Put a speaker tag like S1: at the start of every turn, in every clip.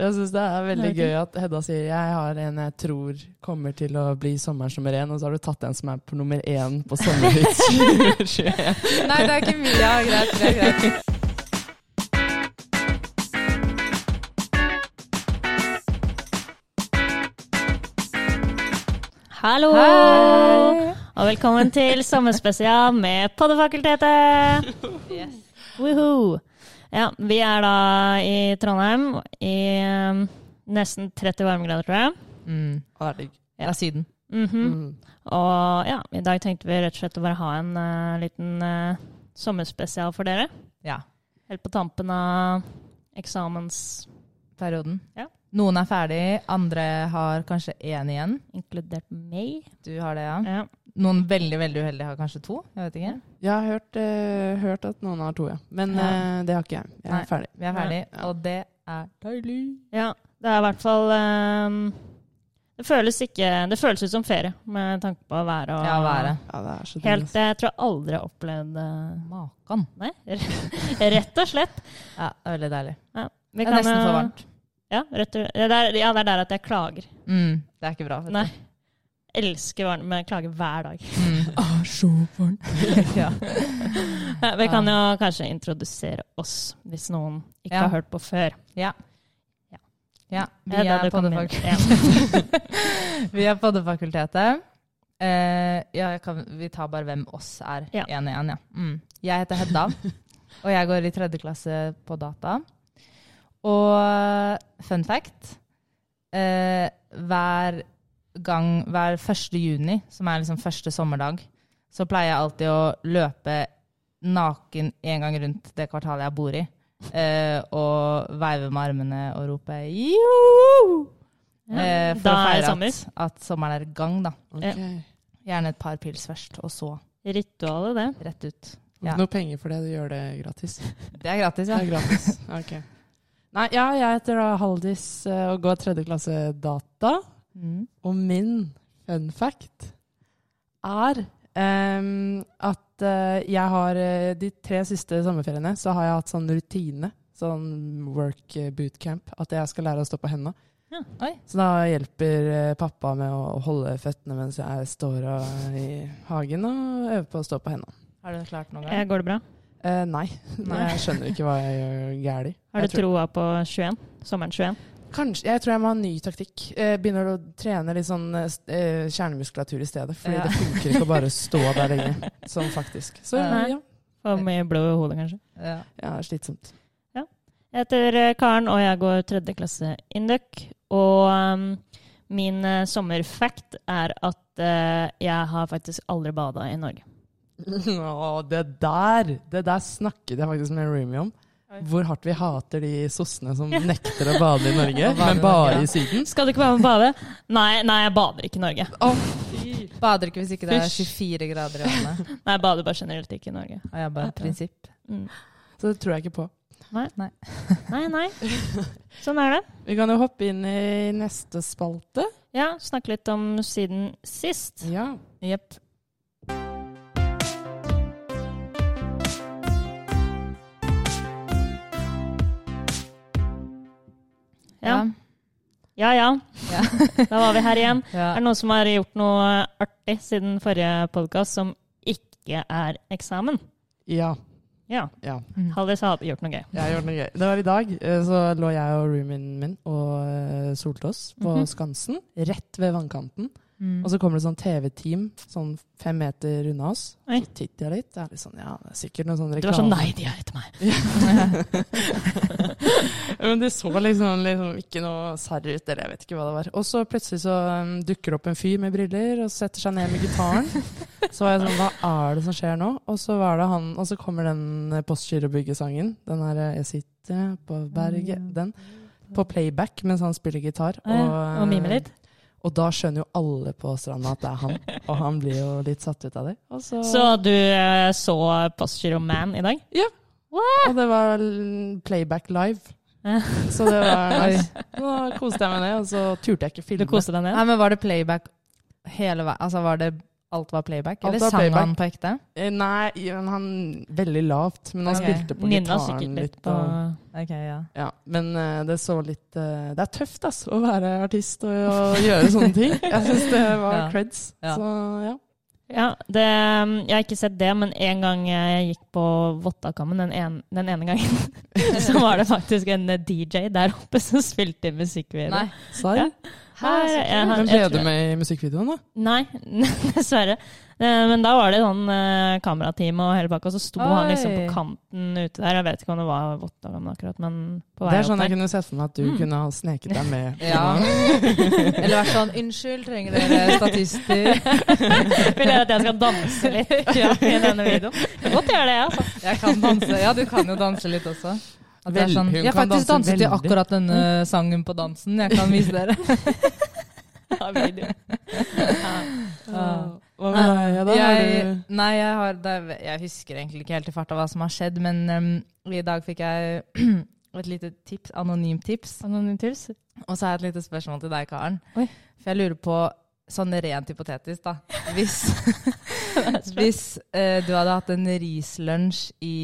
S1: Jeg syns det er veldig
S2: Det er
S1: gøy at Hedda sier jeg har en jeg tror kommer til å bli sommeren som er én, og så har du tatt en som er på nummer én på sommerhits 2021.
S2: Nei, det er ikke mye. Ja, greit, greit, greit.
S3: Hallo! Og velkommen til sommerspesial med Poddefakultetet!
S2: Yes.
S3: Woohoo! Ja, vi er da i Trondheim i eh, nesten 30 varmegrader, tror jeg.
S4: Mm.
S1: Å, det er digg.
S4: Det er Syden.
S3: Mhm.
S1: Mm.
S3: Og ja, i dag tenkte vi rett og slett å bare ha en eh, liten eh, sommerspesial for dere.
S4: Ja.
S3: Helt på tampen av eksamens
S4: Perioden.
S3: Ja.
S4: Noen er ferdig, andre har kanskje én igjen.
S3: inkludert meg.
S4: Du har det, ja.
S3: Ja.
S4: Noen veldig veldig uheldige har kanskje to. Jeg vet ikke.
S1: Jeg har hørt, eh, hørt at noen har to, ja. Men
S4: Ja.
S1: eh, det har ikke jeg. Jeg er
S4: Nei.
S1: ferdig.
S4: Vi er ferdig,
S1: Ja.
S4: og det er deilig.
S3: Ja, det er i hvert fall ehm, det, føles ikke, det føles ut som ferie, med tanke på været og
S4: Ja, været.
S1: Ja, det er så altså. digg.
S3: Helt, Jeg tror jeg aldri har opplevd eh,
S4: Makan.
S3: Nei, rett og slett.
S4: Ja, det er veldig deilig.
S3: Vi
S4: Det er nesten
S3: eh,
S4: for varmt.
S3: Ja, rett og, ja, det er, ja, det er der at jeg klager.
S4: Mm. Det er ikke bra. vet du.
S3: Nei. Elsker varmt, men jeg klager hver dag.
S4: Mm. Ah, så varmt. ja.
S3: Eh, Vi kan jo kanskje introdusere oss, hvis noen ikke
S4: Ja.
S3: har hørt på før.
S4: Ja.
S3: Ja.
S4: Ja, vi
S3: Ja, det
S4: er
S3: du kan mene.
S4: poddefak- vi er poddefakultetet. Eh, ja, jeg kan, vi tar bare hvem oss er.
S3: Ja.
S4: En i en, ja. Mm. Jeg heter Hedda, og jeg går i tredje klasse på data. Og fun fact eh, Hver gang, hver 1. juni, som er liksom første sommerdag, så pleier jeg alltid å løpe naken en gang rundt det kvartalet jeg bor i. eh, og veive med armene og rope joho! Eh, for
S3: da
S4: å
S3: er
S4: feire
S3: det sommer.
S4: at, at sommeren er i gang, da.
S1: Ok.
S4: Gjerne et par pils først, og så
S3: Ritualet, det.
S4: rett ut.
S1: Får
S4: Ja.
S1: ikke Noe penger for det, du gjør det gratis.
S4: Det er gratis,
S1: Det
S4: ja.
S1: er gratis. Ok. Nei, ja, jeg heter da Haldis eh, og går tredje klasse data.
S4: Mm.
S1: Og min fun fact er em, at eh, jeg har eh, de tre siste sommerferiene så har jeg hatt sånn rutine, sånn work eh, bootcamp, at jeg skal lære å stå på henda.
S3: Ja,
S4: oi.
S1: Så da hjelper eh, pappa med å holde føttene mens jeg står og, i hagen og øver på å stå på henda.
S4: Har du klart noen gang?
S3: Eh, Går det bra?
S1: Eh, nei.
S4: Nei.
S1: jeg skjønner ikke hva jeg gjør galt.
S3: Har du troa på 21? Sommeren 21?
S1: Kanskje, Jeg tror jeg må ha en ny taktikk. Eh, Begynner å trene litt sånn eh, s- eh, kjernemuskulatur i stedet. Fordi
S4: Ja.
S1: det funker ikke å bare stå der lenge. Sånn faktisk. Så
S4: Nei.
S1: ja,
S3: For mye blod i hodet, kanskje?
S4: Ja.
S1: ja slitsomt.
S3: Jeg heter eh, Karen, og jeg går tredje klasse Induc. Og um, min eh, sommerfact er at eh, jeg har faktisk aldri bada i Norge.
S1: Å, det der Det der snakket jeg faktisk med Rumi om.
S3: Oi.
S1: Hvor hardt vi hater de sossene som nekter å bade i Norge,
S4: Å bade i
S1: men
S4: Norge,
S1: bare
S4: ja.
S1: i Syden.
S3: Skal du ikke være med og bade? Nei, nei, jeg bader ikke i Norge.
S4: Bader ikke hvis ikke det er
S3: Fysj.
S4: 24 grader i vannet.
S3: Nei, jeg bader bare generelt ikke i Norge.
S4: Og jeg bare prinsipp.
S3: Mm.
S1: Så det tror jeg ikke på.
S3: Nei, nei. Sånn er det.
S1: Vi kan jo hoppe inn i neste spalte.
S3: Ja, snakke litt om siden sist.
S1: Ja.
S4: Jepp.
S3: Ja, ja. ja.
S4: Ja.
S3: Da var vi her igjen.
S4: Ja.
S3: Er det noen som har gjort noe artig siden forrige podkast som ikke er eksamen?
S1: Ja.
S3: Ja.
S1: ja.
S4: Mm.
S3: Hallis har gjort noe gøy.
S1: Jeg gjorde noe gøy. Det var i dag, eh, så lå jeg og roomien min og eh, solte oss på
S3: Mhm.
S1: Skansen, rett ved vannkanten.
S4: Mm.
S1: Og så kommer det sånn TV-team sånn fem meter unna oss.
S3: Oi.
S1: Så titter jeg litt. Det er litt sånn, ja, det er sikkert noen sånn
S3: Du
S1: reklame.
S3: var sånn Nei, de er etter meg.
S1: Men det så liksom, liksom ikke noe sarr ut, eller jeg vet ikke hva det var. Og så plutselig så um, dukker det opp en fyr med briller og setter seg ned med gitaren. Så var jeg sånn, hva er det som skjer nå? Og så, var det han, og så kommer den eh, Postgirobygget-sangen. Den her eh, 'Jeg sitter på berget',
S3: Mm.
S1: den. På playback mens han spiller gitar. eh,
S3: Og, og mime litt.
S1: Og da skjønner jo alle på stranda at det er han. Og han blir jo litt satt ut av det. Og, så,
S3: Så du eh, så Postgiro Man i dag?
S1: og det var l- playback live.
S3: Ja.
S1: Så det var nice. Da koste jeg meg med det, og så turte jeg ikke
S3: Du
S1: filme.
S3: koste deg ned?
S4: Nei, men var det playback hele veien? Altså, var det alt var playback?
S1: Alt
S4: Eller
S1: var
S4: sang
S1: playback.
S4: han på ekte?
S1: Eh, Nei, men han veldig lavt. Men han
S4: Ok.
S1: spilte på
S3: Nynna
S1: gitaren
S3: sikkert
S1: litt.
S3: litt på
S1: og,
S4: Ok, ja.
S1: ja, men eh, det så litt eh, Det er tøft ass, å være artist og, og gjøre sånne ting. Jeg syns det var
S4: Ja.
S1: creds.
S4: Ja.
S1: Så ja.
S3: Ja, det, mm, jeg har ikke sett det, men en gang jeg gikk på Vottakammen, den, en, den ene gangen, så var det faktisk en DJ der oppe som spilte musikkvideo.
S4: Nei.
S1: Sarr.
S3: Ja. Her,
S4: så
S3: jeg-
S1: Men
S3: jeg
S1: ble
S3: tror-
S1: du med i musikkvideoen, da?
S3: Nei, dessverre. Eh, Men da var det sånn eh, kamerateam og hele pakka, og så sto han liksom
S4: Oi.
S3: på kanten ute der. Jeg vet ikke om det var Vottakammen akkurat, men på
S1: Det
S3: vei
S1: er sånn
S3: opp
S1: jeg
S3: der.
S1: kunne sett for meg at du
S3: Mm.
S1: kunne ha sneket deg med.
S4: Ja. Eller vært sånn Unnskyld, trenger dere statister?
S3: Vil dere at jeg skal danse litt ja, i denne videoen? Jeg kan godt gjøre det, jeg. Altså.
S4: Jeg kan danse. Ja, du kan jo danse litt også. At det er
S1: Vel,
S4: sånn,
S1: hun
S4: jeg
S1: kan
S4: faktisk
S1: danse
S4: danset til
S1: veldig. Mm.
S4: akkurat denne sangen på dansen. Jeg kan vise dere.
S3: Ja, video. Ja.
S1: Hva med deg, Hedda? Har
S4: jeg,
S1: du-
S4: nei, jeg, har, det, er- jeg husker egentlig ikke helt i farta hva som har skjedd, men em, i dag fikk jeg et lite tips, anonymt tips.
S3: Anonym tips?
S4: Og så har jeg et lite spørsmål til deg, Karen.
S3: Oi.
S4: For jeg lurer på, sånn rent hypotetisk, da Hvis, hvis eh, du hadde hatt en rislunsj i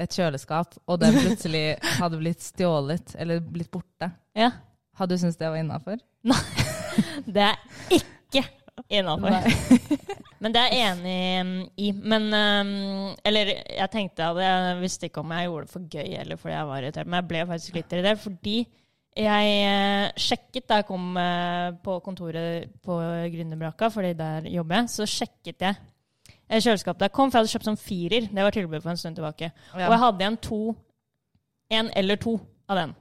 S4: et kjøleskap, og den plutselig hadde blitt stjålet eller blitt borte,
S3: Ja.
S4: hadde du syntes det var innafor?
S3: Det er ikke innafor. Men det er jeg enig um, i. Men øhm, Eller jeg tenkte at jeg visste ikke om jeg gjorde det for gøy eller fordi jeg var irritert, men jeg ble faktisk litt irritert fordi jeg eh, sjekket da jeg kom eh, på kontoret på Gründerbrakka, fordi der jobber jeg, så sjekket jeg eh, kjøleskapet der jeg kom, for jeg hadde kjøpt sånn firer. Det var tilbud for en stund tilbake. Og jeg hadde igjen to, en eller to av den.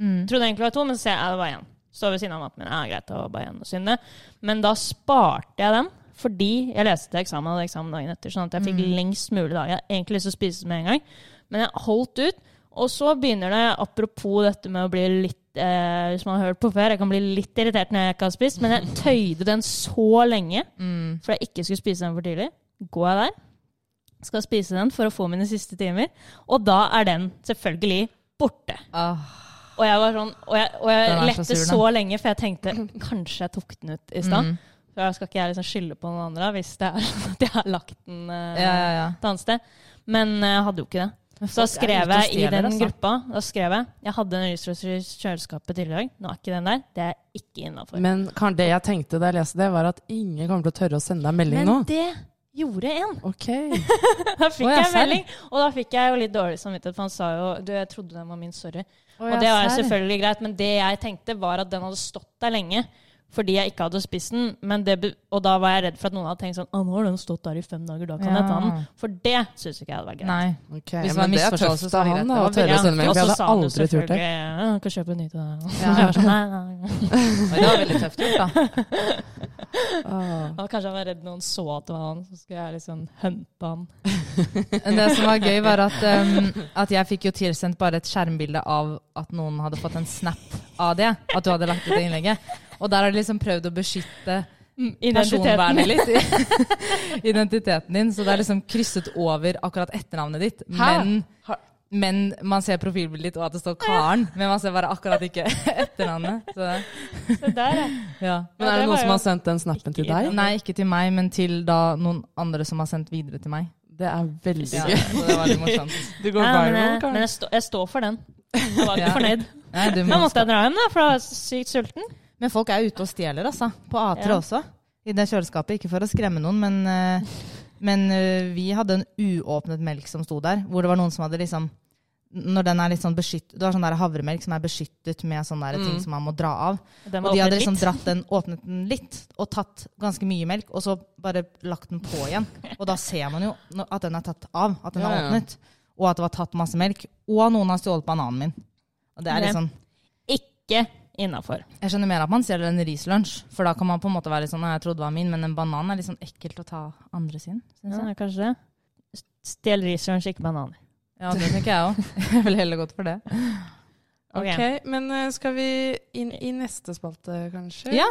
S4: Mm.
S3: Jeg trodde egentlig det var to, men så ser jeg ja, det var én. Står ved siden av maten min. Ja, greit, det var bare én å synde. Men da sparte jeg den, fordi jeg leste til eksamen og hadde eksamen dagen etter, sånn at jeg fikk lengst mulig dag. Jeg hadde egentlig lyst til å spise den med en gang, men jeg holdt ut. Og så begynner det, apropos dette med å bli litt eh, Hvis man har hørt på før, jeg kan bli litt irritert når jeg ikke har spist, men jeg tøyde den så lenge for jeg ikke skulle spise den for tidlig. Går jeg der, skal spise den for å få mine siste timer, og da er den selvfølgelig borte.
S4: Ah,
S3: Og jeg var sånn, og jeg, og jeg
S4: Den er så
S3: lette så,
S4: sur, den. Mm.
S3: lenge, for jeg tenkte kanskje jeg tok den ut i stad. For da skal ikke jeg liksom skylde på noen andre hvis det er sånn at jeg har lagt den eh,
S4: ja, ja, ja.
S3: et annet sted. Men eh, jeg hadde jo ikke det. Så da
S4: folk er
S3: skrev
S4: ute og
S3: jeg i
S4: stjeler,
S3: den
S4: altså.
S3: gruppa da skrev jeg, jeg hadde en rysrøs i kjøleskapet tidligere i dag. Nå er ikke den der. Det er ikke innafor.
S1: Men Karen, det jeg tenkte da jeg leste det, var at ingen kommer til å tørre å sende deg melding
S3: Men
S1: nå.
S3: det gjorde en.
S1: Ok.
S3: Da fikk
S4: Å, ja,
S3: jeg
S4: serr.
S3: melding. Og da fikk jeg jo litt dårlig samvittighet, for han sa jo du, jeg trodde den var min, sorry. Og det var jo selvfølgelig greit, men det jeg tenkte var at den hadde stått der lenge. Fordi jeg ikke hadde spist den. Men det, be- og da var jeg redd for at noen hadde tenkt sånn Å, nå har den stått der i fem dager, da kan jeg ta den.
S4: Ja.
S3: For det syns ikke jeg hadde vært greit.
S4: Nei.
S1: Ok,
S4: Hvis det var
S1: men det er
S4: misforståelse,
S1: tøft
S4: så er
S1: av
S4: det
S1: han
S4: greit.
S1: da, å
S4: Det var
S1: tørre å sende melding. for Jeg hadde aldri
S3: turt
S1: turt det.
S3: Ja, kan kjøpe en ny til
S4: Ja.
S3: deg. Jeg var sånn, nei, nei.
S4: Men det var veldig tøft gjort, da.
S1: Ah.
S3: Og kanskje jeg var redd noen så at det var han, så skulle jeg liksom hunte han.
S4: Men Det som var gøy, var at, em, at jeg fikk jo tilsendt bare et skjermbilde av at noen hadde fått en snap av det. At du hadde lagt ut det innlegget. Og der har de liksom prøvd å beskytte
S1: Mm,
S3: Identiteten.
S4: personvernet litt. Identiteten din. Så det er liksom krysset over akkurat etternavnet ditt.
S1: Hæ?
S4: Men, men man ser profilbildet ditt, og at det står Karen. Men man ser bare akkurat ikke etternavnet. Så,
S3: Det der, ja.
S4: ja.
S1: Men er det
S3: det var
S1: noen som
S3: jo-
S1: har sendt den snappen til deg?
S4: Nei, ikke til meg, men til da noen andre som har sendt videre til meg.
S1: Det er veldig
S4: Ja,
S1: gøy.
S4: så det var litt morsomt.
S1: Du går
S3: Nei, men
S1: viral,
S3: jeg, men
S1: Karen.
S3: jeg, stå, jeg står for den. Jeg var
S4: Ja.
S3: ikke fornøyd.
S4: Nei, du
S3: Da
S4: må
S3: måtte jeg dra hjem, da, for jeg var sykt sulten.
S4: Men folk er ute og stjeler, altså. På Atre
S3: Ja.
S4: også. I det kjøleskapet. Ikke for å skremme noen, men, eh, men eh, vi hadde en uåpnet melk som sto der, hvor det var noen som hadde liksom når den er litt sånn beskyttet, Du har sånn der havremelk som er beskyttet med sånne der ting som man må dra av.
S3: Mm. Den
S4: Og
S3: var
S4: de hadde
S3: åpnet
S4: liksom
S3: litt.
S4: dratt den, åpnet den litt og tatt ganske mye melk, og så bare lagt den på igjen. Og da ser man jo no- at den er tatt av, at den
S1: Ja,
S4: er
S1: ja.
S4: åpnet. Og at det var tatt masse melk. Og noen har stjålet bananen min. Og det er
S3: Nei.
S4: liksom
S3: Ikke innafor.
S4: Jeg skjønner mer at man stjeler en rislunsj, for da kan man på en måte være litt sånn «Nei, Jeg trodde det var min, men en banan er litt sånn ekkelt å ta andre sin, syns jeg.
S3: Ja, kanskje det. Stjel rislunsj, ikke bananer.
S4: Ja, det tenker jeg òg. Jeg vil heller gått for det.
S3: Ok.
S1: Ok, men eh, skal vi inn i neste spalte, kanskje?
S4: Ja.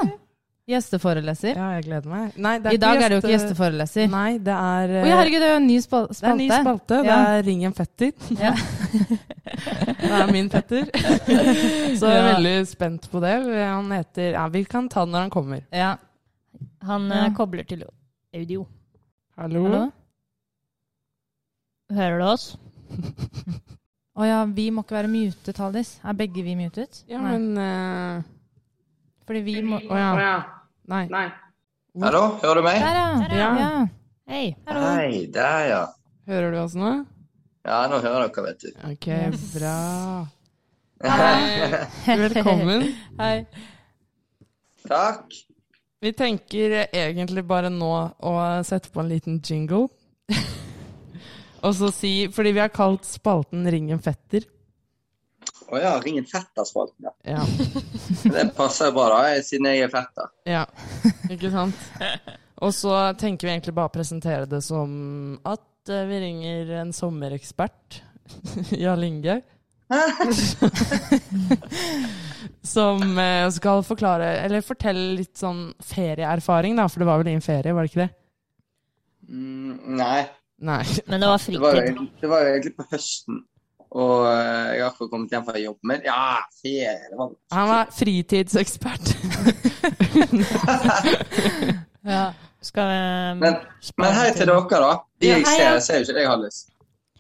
S4: Gjesteforeleser.
S1: Ja, jeg gleder meg. Nei, det er
S4: I dag er det jo ikke
S1: gjeste-
S4: gjesteforeleser.
S1: Nei, det er
S4: Å
S1: eh,
S4: herregud, det er jo en ny spal-
S1: Det er en ny
S4: spalte.
S1: spalte. Det
S4: Ja.
S1: er Ring en fetter.
S4: Ja.
S1: det er min fetter. Så jeg er
S4: Ja.
S1: veldig spent på det. Han heter ja, Vi kan ta den når han kommer.
S4: Ja.
S3: Han eh,
S4: Ja.
S3: kobler til audio.
S1: Hallo?
S4: Hallo?
S3: Hører du oss?
S4: Å ja, vi må ikke være mutet, Haldis. Er begge vi mutet?
S1: Ja,
S4: Nei.
S1: men eh,
S4: Fordi vi må
S1: Å ja. Nei.
S5: Hallo, hører du meg?
S4: Der,
S3: Der,
S4: ja.
S1: ja.
S4: ja.
S3: Hei.
S4: Hallo.
S5: Hei, der ja.
S1: Hører du oss nå?
S5: Ja, nå hører dere, vet du.
S1: Ok, bra. Velkommen.
S4: Hei.
S5: Takk.
S1: Vi tenker egentlig bare nå å sette på en liten jingle. Og så si Fordi vi har kalt spalten Ring en fetter.
S5: Å ja, ringen fetter-spalten, ja.
S1: Ja.
S5: Det passer jo bra, da, jeg- siden jeg er fetter.
S1: ja. Ikke sant? Og så tenker vi egentlig bare å presentere det som at eh, vi ringer en sommerekspert, Jarl Inge, som eh, skal forklare Eller fortelle litt sånn ferieerfaring, da, for det var vel din ferie, var det ikke det?
S5: Mm, nei,
S1: Nei.
S3: Men det var
S5: det var, jo,
S3: fritid.
S5: egentlig- det var jo egentlig på høsten. Og eh, jeg har akkurat kommet hjem fra jobben min. Ja, ferie, det var
S1: Han var fritidsekspert.
S4: Ja.
S3: Skal vi eh,
S5: Men, men hei til dere, da. De
S1: Ja,
S5: jeg
S1: hei,
S5: ser,
S1: ja.
S5: ser jo ikke det jeg har lyst.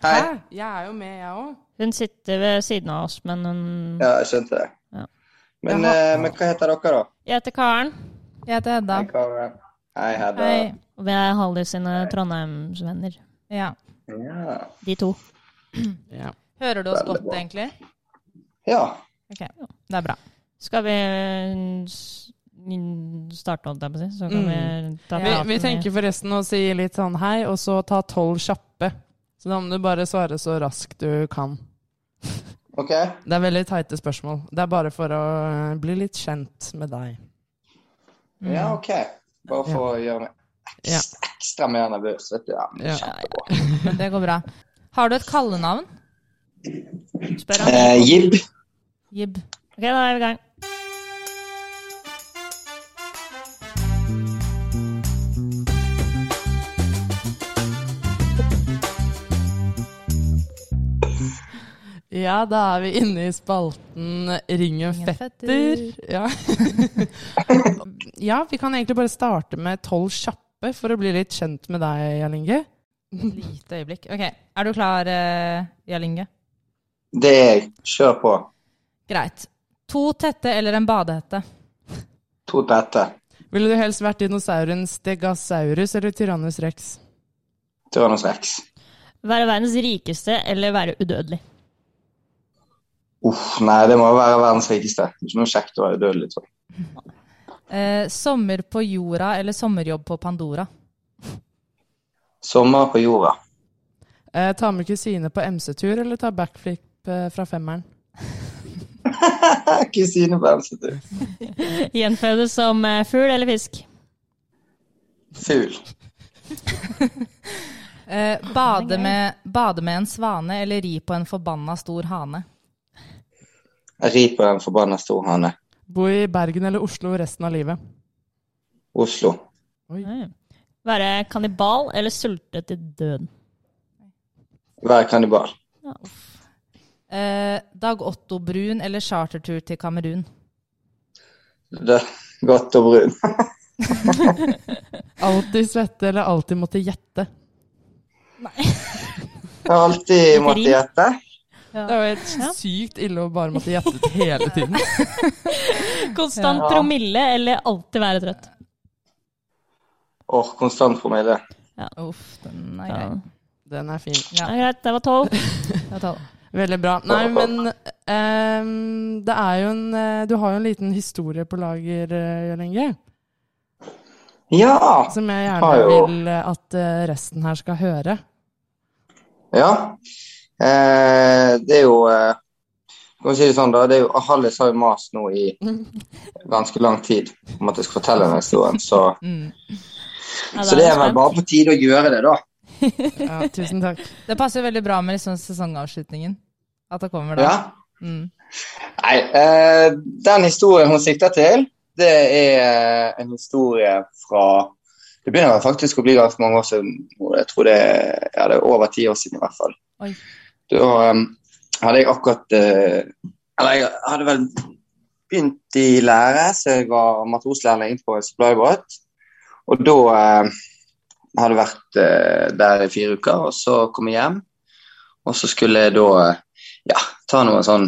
S5: Hei.
S1: Jeg er jo med, jeg òg.
S3: Hun sitter ved siden av oss, men hun
S5: Ja, jeg skjønte det.
S3: Ja.
S5: Men,
S1: Jaha.
S5: eh, men hva heter dere, da?
S3: Jeg heter Karen,
S4: Jeg heter Hedda.
S5: Hei, Karen. Hei, Hedda.
S4: Hei.
S3: og vi er Haldis sine Trondheimsvenner.
S4: Ja.
S5: Ja.
S3: De to.
S1: Ja.
S4: Hører du oss
S5: Veldig
S4: godt,
S5: bra.
S4: egentlig?
S5: ja.
S4: Ok, det er bra.
S3: Skal vi eh, s- n- starte, holdt jeg på å si? Så kan
S1: Mm.
S3: vi ta
S1: Vi,
S3: praten
S1: vi
S3: i-
S1: tenker forresten å si litt sånn hei, og så ta tolv kjappe. Så da må du bare svare så raskt du kan.
S5: OK.
S1: Det er veldig teite spørsmål. Det er bare for å eh, bli litt kjent med deg.
S5: Ja, OK. Bare for å gjøre meg
S1: Mm. Ja.
S5: ekstra, ekstra mer nervøs, vet du. Ja, men
S1: Ja.
S5: kjempebra.
S4: Men det går bra. Har du et kallenavn?
S3: Spør han.
S5: Eh, Jib.
S4: Jib.
S3: Ok, da er vi i gang.
S1: Ja, da er vi inne i spalten Ring en
S4: Ring en
S1: fetter. Ja. ja, vi kan egentlig bare starte med tolv kjappe for å bli litt kjent med deg, Jarl Inge.
S4: Lite øyeblikk. Ok, er du klar, uh, Jarl Inge?
S5: Det er jeg. Kjør på.
S4: Greit. To tette eller en badehette?
S5: To tette.
S1: Ville du helst vært dinosauren Stegasaurus eller Tyrannus rex?
S5: Tyrannus rex.
S3: Være verdens rikeste eller være udødelig?
S5: Uff, nei, det må være verdens rikeste. Det er Ikke noe kjekt å være liksom. udødelig, tror jeg.
S4: Eh, sommer på jorda eller sommerjobb på Pandora?
S5: Sommer på jorda.
S1: Eh, ta med kusine på MC-tur, eller ta backflip eh, fra femmeren?
S5: Kusine på MC2.
S3: Gjenfødes som eh, fugl eller fisk?
S5: Fugl.
S4: Eh, bade, med, bade med en svane eller ri på en forbanna stor hane?
S5: Ri på den forbanna storhane.
S1: Bo i Bergen eller Oslo resten av livet?
S5: Oslo.
S3: Nei. Være kannibal eller sulte til døden?
S5: Være kannibal.
S3: Ja,
S4: Eh, Dag Otto Brun eller chartertur til Kamerun?
S5: Det. Godt og brun.
S1: Alltid svette, eller alltid måtte gjette?
S5: Jeg har alltid måttet gjette.
S1: Det er jo helt sykt ille å bare måtte gjette hele tiden.
S3: Konstant
S5: Ja.
S3: promille eller alltid være trøtt?
S5: Åh, konstant promille.
S4: Uff, den er
S3: Ja.
S4: grei.
S1: Den er fin.
S3: Ja, greit, det var tolv.
S4: Det var tolv.
S1: Veldig bra. Nei, men ehm, det er jo en eh, Du har jo en liten historie på lager, eh, Jarl Inge,
S5: Ja!
S1: som jeg gjerne
S5: Har jo.
S1: vil eh, at eh, resten her skal høre.
S5: Ja. Eh, det er jo eh, Kan vi si det sånn, da. Det er jo, Hallis har jo mast nå i ganske lang tid om at jeg skal fortelle denne historien, så,
S4: Mm.
S3: Ja, da
S5: så det
S3: jeg
S5: er vel
S3: spent.
S5: bare på tide å gjøre det, da.
S1: Ja, tusen takk.
S4: Det passer veldig bra med liksom sesongavslutningen. At det kommer da.
S5: Ja.
S4: Mm.
S5: Nei, eh, den historien hun sikter til, det er eh, en historie fra Det begynner vel faktisk å bli ganske mange år siden. nå. Jeg tror det, ja, det er over ti år siden i hvert fall.
S4: Oi.
S5: Da eh, hadde jeg akkurat eh, Eller jeg hadde vel begynt i lære, så jeg var matroslærling på et supplybåt. Og da eh, Jeg hadde vært eh, der i fire uker, og så kom jeg hjem. Og så skulle jeg da eh, ja, ta noe sånn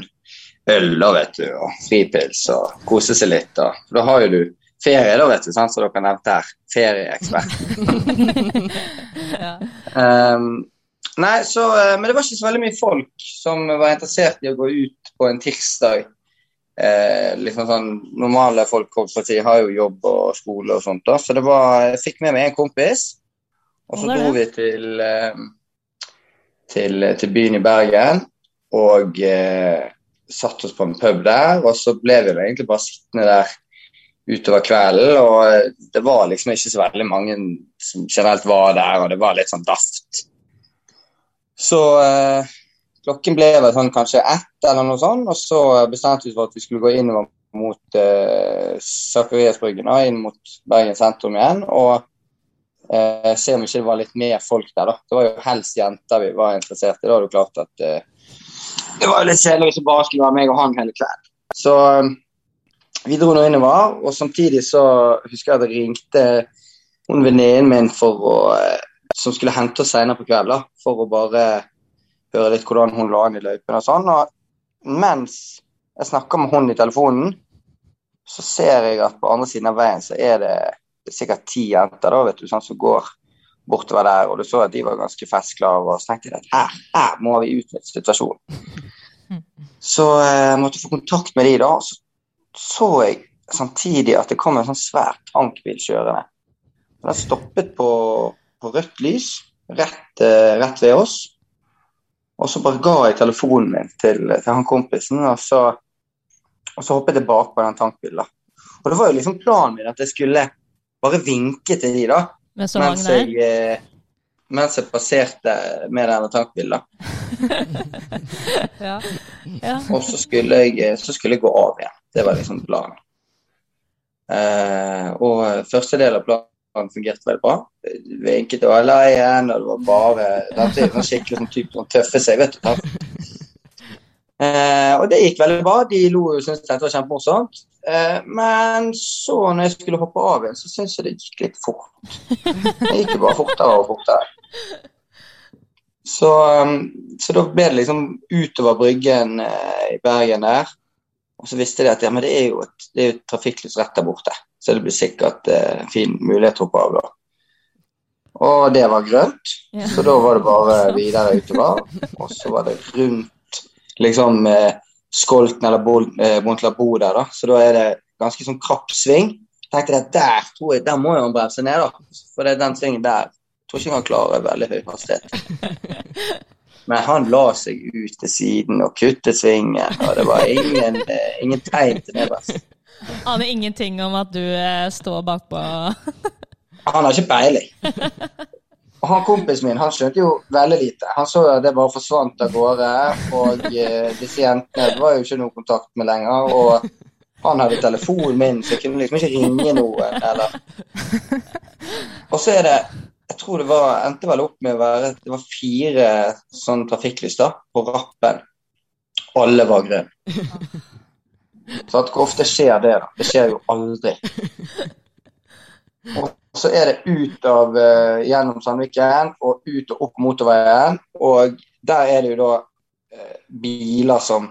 S5: øl, da, vet du, og fripils og kose seg litt. Da. For da har jo du ferie, da, vet du, sant? så dere nevnte her. Ferieekspert. Ehm, nei, så, eh, men det var ikke så veldig mye folk som var interessert i å gå ut på en tirsdag. Eh, liksom sånn, Normale folk holdt på å si, har jo jobb og skole og sånt. da, Så det var, jeg fikk med meg en kompis, og så
S3: Hvor var
S5: dro vi til, eh, til, eh, til byen i Bergen. Og eh, satt oss på en pub der, og så ble vi vel egentlig bare sittende der utover kvelden, og det var liksom ikke så veldig mange som generelt var der, og det var litt sånn daft. Så eh, klokken ble vel sånn kanskje ett eller noe sånt, og så bestemte vi oss for at vi skulle gå innover mot eh, Sakariasbryggen og inn mot Bergen sentrum igjen, og eh, se om ikke det var litt mer folk der, da. Det var jo helst jenter vi var interessert i, da er det jo klart at eh, det var jo litt kjedelig hvis det bare skulle være meg og han hele kvelden. Så eh, vi dro nå innover, og samtidig så husker jeg at jeg ringte hun venninnen min for å, eh, som skulle hente oss senere på kvelden, da, for å bare høre litt hvordan hun lå an i løypen og sånn. Og mens jeg snakker med hun i telefonen, så ser jeg at på andre siden av veien så er det sikkert ti jenter da, vet du, sånn, som går bortover der, og du så at de var ganske festglade, og så tenkte jeg at her, her må vi utnytte situasjonen. Så eh, måtte jeg få kontakt med de da, så så jeg samtidig at det kom en sånn svær tankbil kjørende. Den stoppet på, på rødt lys rett, eh, rett ved oss. Og så bare ga jeg telefonen min til, til han kompisen, og så, og så hoppet jeg bak på den tankbilen. da. Og det var jo liksom planen min at jeg skulle bare vinke til de, da
S3: Med så
S5: mens
S3: mange der.
S5: jeg, eh, mens jeg passerte med denne tankbilen. da.
S4: Ja.
S3: Ja.
S5: Og så skulle, jeg, så skulle jeg gå av igjen. Det var liksom planen. Eh, og første del av planen fungerte veldig bra. Vi Vinket og la igjen, og det var bare Dette er sånn skikkelig sånn type som tøffer seg, vet du. sant? Eh, og det gikk veldig bra. De lo og syntes dette var kjempemorsomt. Eh, men så, når jeg skulle hoppe av igjen, så syntes jeg det gikk litt fort. Det gikk jo bare fortere og fortere. Så, um, så da ble det liksom utover Bryggen eh, i Bergen der. Og så visste de at ja, men det er jo et, det er jo et trafikklys rett der borte, så det blir sikkert eh, en fin mulighet til å hoppe av da. Og det var grønt,
S3: Ja.
S5: så da var det bare videre utover. Og så var det rundt liksom eh, Skolten eller Bol- eh, Bontlabo der, da. Så da er det ganske sånn krapp sving. Tenkte jeg der tror jeg, der må jo han bremse ned, da. For det er den svingen der tror ikke han klarer veldig høy hastighet. Men han la seg ut til siden og kuttet svingen, og det var ingen, eh, ingen tegn til nedbremsing.
S3: Aner ingenting om at du eh, står bakpå.
S5: Han har ikke peiling. Og han kompisen min han skjønte jo veldig lite. Han så jo at det bare forsvant av gårde, og eh, disse jentene var jo ikke noe kontakt med lenger. Og han hadde telefonen min, så jeg kunne liksom ikke ringe noen, eller Og så er det Jeg tror det var, endte vel opp med å være Det var fire sånne trafikklys da, på rappen. Alle var grønne. Så at hvor ofte skjer det, da? Det skjer jo aldri. Og så er det ut av eh, gjennom Sandviken og ut og opp motorveien. Og der er det jo da eh, biler som,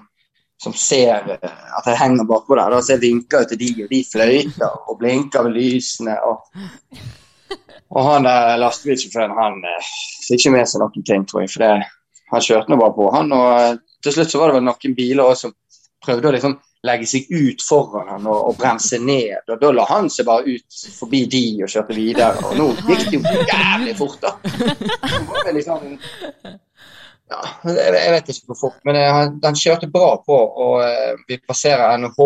S5: som ser eh, at jeg henger bakpå der. Da, så jeg vinker jo til de, og de fløyter og blinker med lysene. Og, og han der lastebilsjåføren, han eh, fikk ikke med seg noen ting, tror jeg. For det, han kjørte nå bare på, han. Og eh, til slutt så var det vel noen biler også som prøvde å liksom legge seg ut foran han og, og bremse ned. Og da la han seg bare ut forbi de og kjørte videre. Og nå gikk det jo jævlig fort, da. Det var liksom, ja, jeg, jeg vet ikke hvor fort, men eh, han, han kjørte bra på. Og eh, vi passerer NHH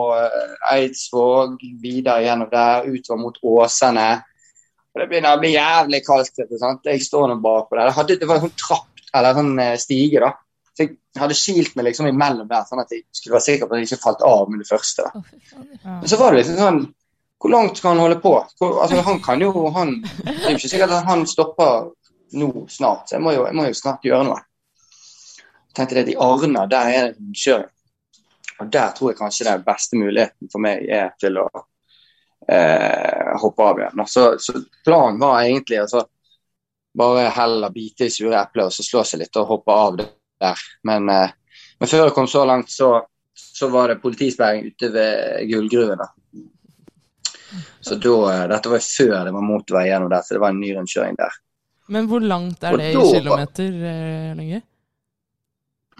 S5: og eh, Eidsvåg, videre gjennom der, utover mot Åsane. Og det begynner å bli jævlig kaldt. vet du, sant? Jeg står nå bakpå der. Det, hadde, det var en sånn trapp, eller sånn eh, stige, da. Så jeg hadde kilt meg liksom imellom der, sånn at jeg skulle være sikker på at jeg ikke falt av med det første. da. Men så var det liksom sånn Hvor langt skal han holde på? Hvor, altså, han kan jo han, Det er jo ikke sikkert at han stopper nå snart, så jeg må jo, jeg må jo snart gjøre noe. Jeg tenkte det, I Arna der er det rundkjøring. Og der tror jeg kanskje den beste muligheten for meg er til å eh, hoppe av igjen. Så, så planen var egentlig altså, bare heller bite i sure epler og så slå seg litt og hoppe av der. Men, eh, men før det kom så langt, så, så var det politisperring ute ved gullgruven. da. Så da, eh, Dette var før det var motorvei gjennom der, så det var en ny rundkjøring der.
S1: Men hvor langt er
S5: Og
S1: det i
S5: da var-
S1: kilometer eh, lenger?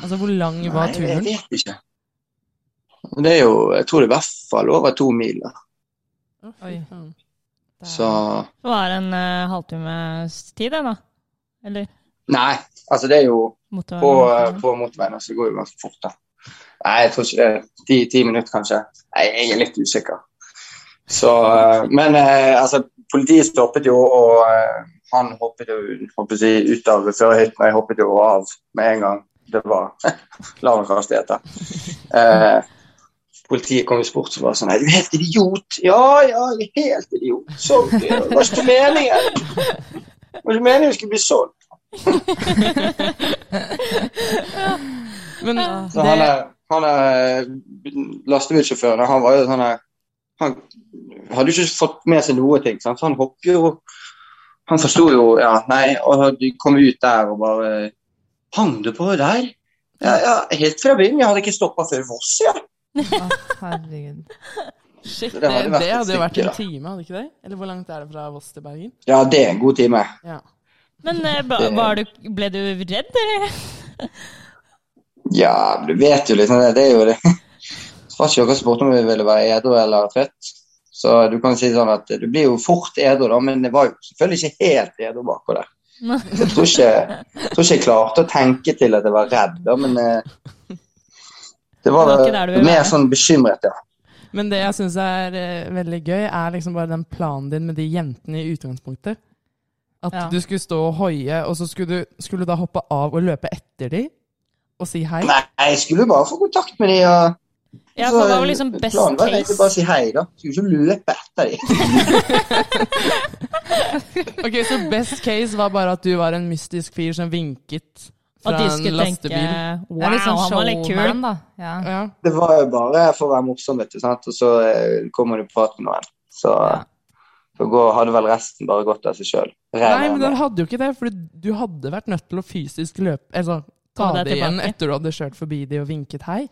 S1: Altså, hvor lang var
S5: Nei,
S1: turen?
S5: Jeg vet ikke. Det er jo, jeg tror det er i hvert fall over to mil. da.
S1: Å, fy
S4: Oi.
S1: faen.
S5: Så
S3: Det var en eh, halvtimes tid, det, da. Eller
S5: Nei, altså det er jo
S3: motorveien.
S5: på, eh, på motorveien, så det går jo ganske fort, da. Nei, jeg tror ikke det. Ti, ti minutter, kanskje. Nei, jeg er litt usikker. Så eh, Men eh, altså, politiet stoppet jo, og eh, han hoppet jo hoppet jeg, ut av førerhytten, og jeg hoppet jo av med en gang. Det var lav hastighet, da. Eh, Politiet kom jo bort og var sånn Nei, du er helt idiot! Ja, ja, jeg er helt idiot. Sorry. Det var ikke meningen. Det var ikke meningen jeg skulle bli sånn.
S1: Men
S5: Så han
S1: det,
S5: er, han er eh, lastebilsjåføren. Han var jo sånn her- Han hadde jo ikke fått med seg noe ting, sant? så han hoppet jo Han forsto jo Ja, nei, og de kom ut der og bare Hang du på der? Ja, ja, helt fra byen. Jeg hadde ikke stoppa før Voss, jeg.
S4: Å, herregud.
S1: shit,
S5: det
S1: det,
S5: hadde vært
S1: det
S5: et
S1: hadde jo vært
S5: stykke,
S1: en
S5: da.
S1: time, hadde ikke det? Eller hvor langt er det fra Voss til Bergen?
S5: Ja. ja, det er en god time.
S1: Ja.
S3: Men eh, ba, var du, ble du redd, eller?
S5: Ja, du vet jo liksom det. Det er jo det. Det var ikke noen som spurte om vi ville være edru eller trøtt. Så du kan si sånn at du blir jo fort edru, da, men det var jo selvfølgelig ikke helt edru bakpå der.
S3: Nei.
S5: Jeg tror ikke, jeg tror ikke jeg klarte å tenke til at jeg var redd, da, men eh, det var,
S3: Det var ikke der du ville
S5: mer
S3: være.
S5: sånn bekymret, ja.
S1: Men det jeg syns er eh, veldig gøy, er liksom bare den planen din med de jentene i utgangspunktet. At
S4: Ja.
S1: du skulle stå og hoie, og så skulle du, skulle du da hoppe av og løpe etter de og si hei.
S5: Nei, jeg skulle jo bare få kontakt med de. Og,
S3: Ja,
S5: så
S3: for det var vel liksom best
S5: planen var egentlig bare å
S3: case.
S5: si hei, da. Skulle ikke løpe etter de.
S1: Ok, Så best case var bare at du var en mystisk fyr som vinket
S3: At
S1: fra
S3: de
S1: en
S3: skulle tenke
S1: lastebil.
S3: Wow,
S4: Det er litt sånn
S3: han var litt kul.
S4: showman, da. Ja.
S1: Ja.
S5: Det var jo bare for å være morsom, vet du, sant? og så eh, kommer du i prat med noen. Så,
S4: Ja.
S5: så går, hadde vel resten bare gått av seg sjøl.
S1: Nei, men den hadde jo ikke det, for du hadde vært nødt til å fysisk løpe altså, ta
S3: Komme deg
S1: det igjen
S3: tilbake.
S1: etter du hadde kjørt forbi de og vinket hei.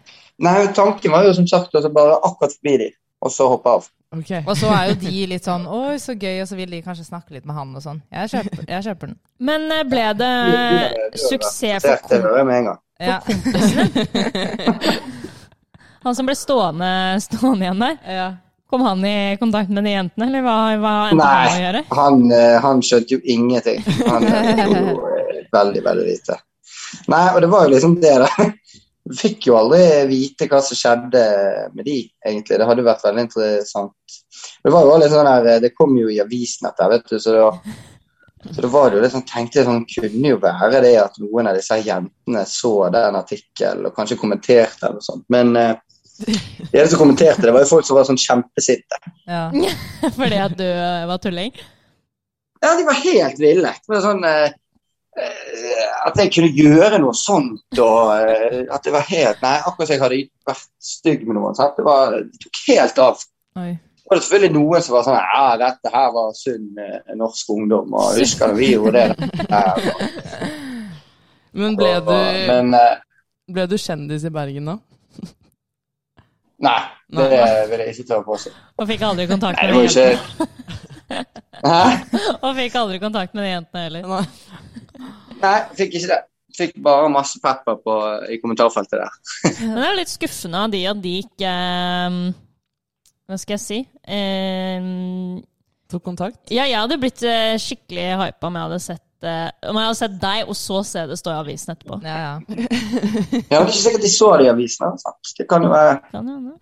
S5: Nei, tanken var jo som sagt å bare akkurat forbi de, og så hoppe av.
S1: Ok,
S4: Og så er jo de litt sånn Oi, så gøy, og så vil de kanskje snakke litt med han og sånn. Jeg kjøper, jeg kjøper den.
S3: Men eh, ble det suksess
S5: Det
S3: for
S5: det hører jeg med en gang.
S4: Ja.
S3: han som ble stående, stående igjen der?
S4: Ja.
S3: Kom han i kontakt med de jentene, eller hva, hva endte
S5: Nei.
S3: han å gjøre?
S5: Han, eh, han skjønte jo ingenting. Han eh, gjorde jo eh, veldig, veldig lite. Nei, og det var jo liksom det, da. Vi Fikk jo aldri vite hva som skjedde med de, egentlig. Det hadde vært veldig interessant. Det var jo også litt sånn der, eh, det kom jo i avisen etter, vet du, så det var så det var det jo litt sånn, tenkte jeg sånn, kunne jo være det at noen av disse jentene så den artikkelen og kanskje kommenterte eller noe sånt, men eh, de eneste som kommenterte det, var jo folk som var sånn kjempesinte.
S4: Ja.
S3: Fordi at du eh, var tulling?
S5: Ja, de var helt ville. Det var sånn eh, eh, At jeg kunne gjøre noe sånt, og eh, at det var helt Nei, akkurat som jeg hadde vært stygg med noen. Sant? Det, var, det tok helt av.
S4: Oi.
S5: Og det var selvfølgelig noen som var sånn Ja, dette her var sunn eh, norsk ungdom, og husker du vi gjorde det? der?»
S1: Men ble du,
S5: Men eh,
S1: ble du kjendis i Bergen da?
S5: nei, det
S1: Nei.
S5: vil jeg ikke tørre å påstå.
S3: Og fikk aldri kontakt
S5: Nei,
S3: med
S5: det
S3: de
S5: var jo
S3: jentene?
S5: ikke Hæ?
S3: Og fikk aldri kontakt med de jentene heller.
S1: Nei.
S5: Nei, fikk ikke det. Fikk bare masse pepper på, i kommentarfeltet der.
S3: Men det er jo litt skuffende av de at de ikke eh, Hva skal jeg si? Eh,
S1: Tok kontakt?
S3: ja, jeg hadde blitt eh, skikkelig hypa om jeg hadde sett eh, om jeg hadde sett deg, og så se det stå i avisen etterpå.
S4: Ja, ja.
S5: Ja, men Det er ikke sikkert de så det i avisene. sant? Det kan jo være
S3: Kan jo hende.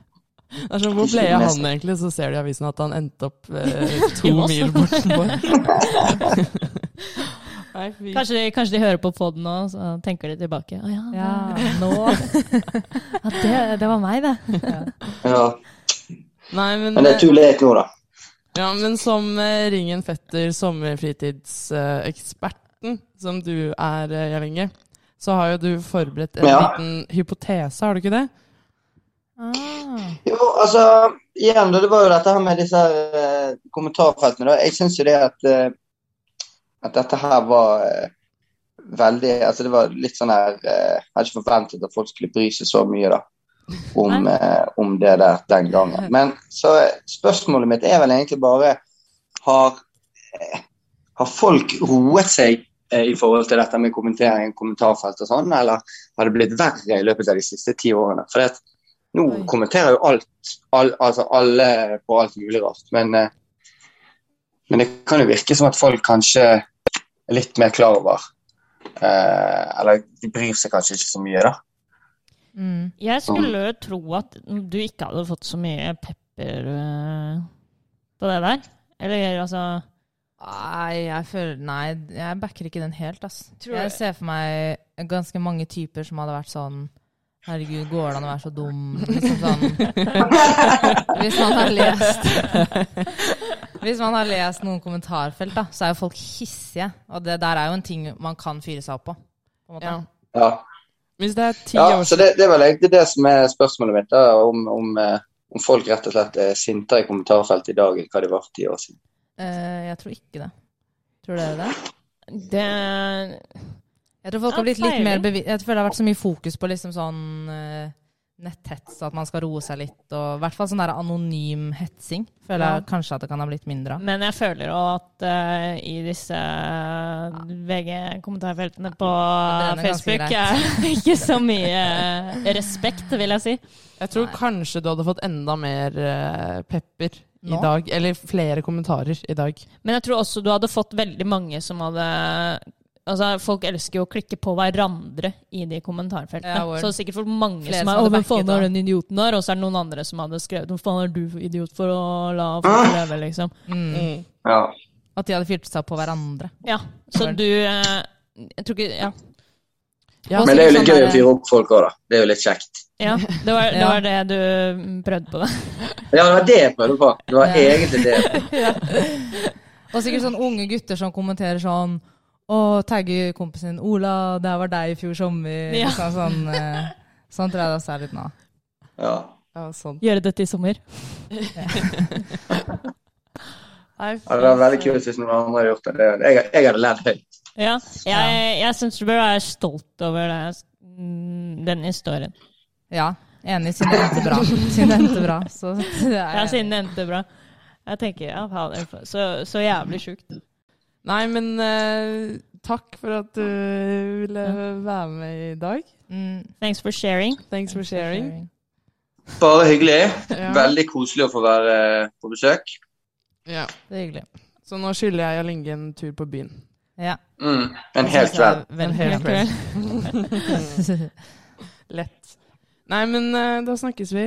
S1: Det er sånn, hvor ble av han egentlig? Så ser de i avisen at han endte opp eh, to
S3: I Voss.
S1: mil bortenfor. Nei, fy.
S3: Kanskje, de- kanskje de hører på podden nå, så tenker de tilbake. Å ja,
S4: ja.
S3: nå ja, det, det var meg, det.
S5: ja.
S1: Nei, men, eh,
S5: Men det er too late nå, da.
S1: ja, men som eh, Ringen Fetter, sommerfritidseksperten, eh, som du er, eh, Jarl Inge, så har jo du forberedt en
S5: Ja.
S1: liten hypotese, har du ikke det?
S4: Ah.
S5: Jo, altså, igjen, da, det var jo dette her med disse her, eh, kommentarfeltene. da. Jeg syns jo det at, eh, at dette her var eh, veldig Altså, det var litt sånn her eh, Jeg hadde ikke forventet at folk skulle bry seg så mye, da. Om, eh, om det der den gangen. Men så eh, spørsmålet mitt er vel egentlig bare Har, eh, har folk roet seg eh, i forhold til dette med kommentering, kommentarfelt og sånn, eller har det blitt verre i løpet av de siste ti årene? For det at nå
S1: Oi.
S5: kommenterer jo alt, all, altså alle på alt mulig rart. Men, eh, men det kan jo virke som at folk kanskje er litt mer klar over eh, Eller de bryr seg kanskje ikke så mye, da.
S4: Mm.
S3: Jeg skulle jo tro at du ikke hadde fått så mye pepper øh, på det der. Eller altså
S4: Nei, jeg føler Nei, jeg backer ikke den helt, ass.
S3: Tror
S4: jeg
S3: jeg-
S4: ser for meg ganske mange typer som hadde vært sånn Herregud, går det an å være så dum? Liksom sånn. Hvis man har lest Hvis man har lest noen kommentarfelt, da, så er jo folk hissige. Og det der er jo en ting man kan fyre seg opp på. på en måte.
S1: Ja.
S5: Ja,
S1: Hvis det er ti
S5: ja
S1: år
S5: så
S1: siden
S5: det, det er vel egentlig det som er spørsmålet mitt, da, om, om, eh, om folk rett og slett er sintere i kommentarfeltet i dag enn hva de var for ti år siden.
S4: Eh, jeg tror ikke det. Tror dere det?
S3: Det
S4: Jeg tror folk
S3: Ja,
S4: har blitt litt
S3: pleier
S4: mer
S3: vi.
S4: bevisst Jeg føler det har vært så mye fokus på liksom sånn eh, netthets, at man skal roe seg litt, og i hvert fall sånn der anonym hetsing. Føler
S3: Ja.
S4: jeg kanskje at det kan ha blitt mindre av.
S3: Men jeg føler jo at eh, i disse eh, VG-kommentarfeltene på
S4: det brenner
S3: Facebook
S4: ganske
S3: er ikke så mye eh, respekt, vil jeg si.
S1: Jeg tror kanskje du hadde fått enda mer eh, pepper i
S4: Nå?
S1: dag. Eller flere kommentarer i dag.
S3: Men jeg tror også du hadde fått veldig mange som hadde Altså, Folk elsker jo å klikke på hverandre i de kommentarfeltene.
S4: Ja, word.
S3: så det er sikkert for mange
S4: Flere
S3: som er
S4: som
S3: 'Å,
S4: hadde
S3: hvem faen
S4: backet
S3: er
S4: da.
S3: den idioten der?' Og så er det noen andre som hadde skrevet 'Hvem faen er du for idiot for å la folk leve', liksom.
S4: Mm.
S5: Ja.
S4: At de hadde fyrt seg opp på hverandre.
S3: Ja, Så du eh, Jeg tror ikke Ja.
S1: Ja,
S5: Men det
S4: sånn
S5: er jo litt gøy
S1: eh?
S5: å fyre opp folk òg, da. Det er jo litt kjekt.
S3: ja det, var, det
S4: Ja.
S3: var det du mm, prøvde på. da.
S5: Ja, det var det jeg prøvde på. Det var egentlig det. jeg prøvde på.
S4: Og sikkert sånn unge gutter som kommenterer sånn og tagger kompisen sin 'Ola, det her var deg i fjor sommer'.
S3: Ja.
S4: Liksom, sånn, eh, sånn tror jeg det også er litt nå.
S5: Ja.
S1: Ja, sånn.
S3: Gjøre dette i sommer.
S5: Ja, det var veldig kult hvis noen andre hadde gjort det. det. Jeg, jeg hadde ledd høyt.
S3: Ja, jeg, jeg syns du bør være stolt over det, mm, den historien.
S4: Ja, enig, siden det endte bra. Siden det endte bra. Så det er
S3: Ja, siden det endte bra. Jeg tenker, ja, fader, for- så, så jævlig sjukt.
S1: Nei, men eh, takk for at du ville være med i dag.
S4: Mm,
S3: Thanks for sharing.
S1: Thanks for sharing.
S5: Bare hyggelig.
S1: Ja.
S5: Veldig koselig å få være eh, på besøk.
S1: Ja.
S4: Det er hyggelig.
S1: Så nå skylder jeg Jalinge en tur på byen.
S4: Ja.
S5: Mm. En hel kveld.
S1: En hel
S4: Veldig
S1: kveld. Lett. Nei, men eh, da snakkes vi.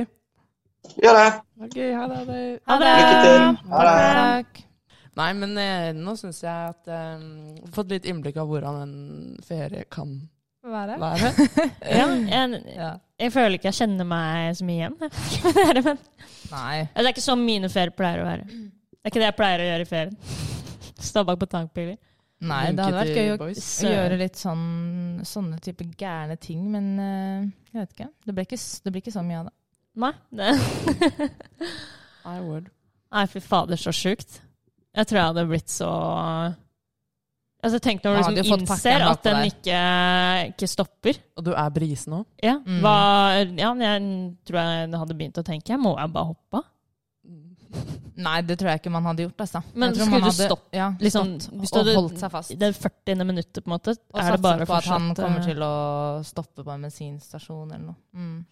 S5: Gjør det.
S1: Ok, ha det. ha det.
S3: Ha
S5: Lykke til. Ha det.
S4: Takk.
S1: Nei, men eh, nå syns jeg at eh, jeg har fått litt innblikk av hvordan en ferie kan
S4: Være.
S1: være.
S3: Ja, jeg,
S4: Ja.
S3: jeg føler ikke jeg kjenner meg så mye igjen. jeg vet ikke hva det er, men- Altså,
S4: Nei.
S3: Det er ikke sånn mine ferier pleier å være. Det er ikke det jeg pleier å gjøre i ferien. Stå bak på tankbiler.
S4: Nei, det hadde vært
S1: Linke til
S4: gøy å
S1: boys.
S4: gjøre litt sånn, sånne type gærne ting, men eh, jeg vet ikke. Det blir ikke, s- det blir ikke så mye av det.
S3: Nei, det.
S1: I word.
S3: Nei, fy fader, så sjukt. Jeg tror jeg hadde blitt så Altså, tenk når
S4: Man
S3: du
S4: hadde jo
S3: liksom
S4: fått pakken
S3: innser at
S4: bakpå
S3: den
S4: der.
S3: ikke, ikke stopper.
S1: Og du er brise nå?
S3: Ja,
S4: Mm.
S3: hva, ja, men jeg tror jeg hadde begynt å tenke Må jeg bare hoppe av?
S1: Mm.
S4: Nei, det tror jeg ikke man hadde gjort. Altså.
S3: Men
S4: jeg tror
S3: skulle
S4: man
S3: du stoppe,
S4: ja,
S3: Liksom,
S4: stått
S3: hvis du
S4: og
S3: hadde-
S4: holdt seg fast?
S3: I det 40. minuttet, på en måte,
S4: Og
S3: er det
S4: satset
S3: bare eh, å
S4: på at han
S3: fortsette.
S4: kommer til å stoppe på en bensinstasjon eller noe. Mm.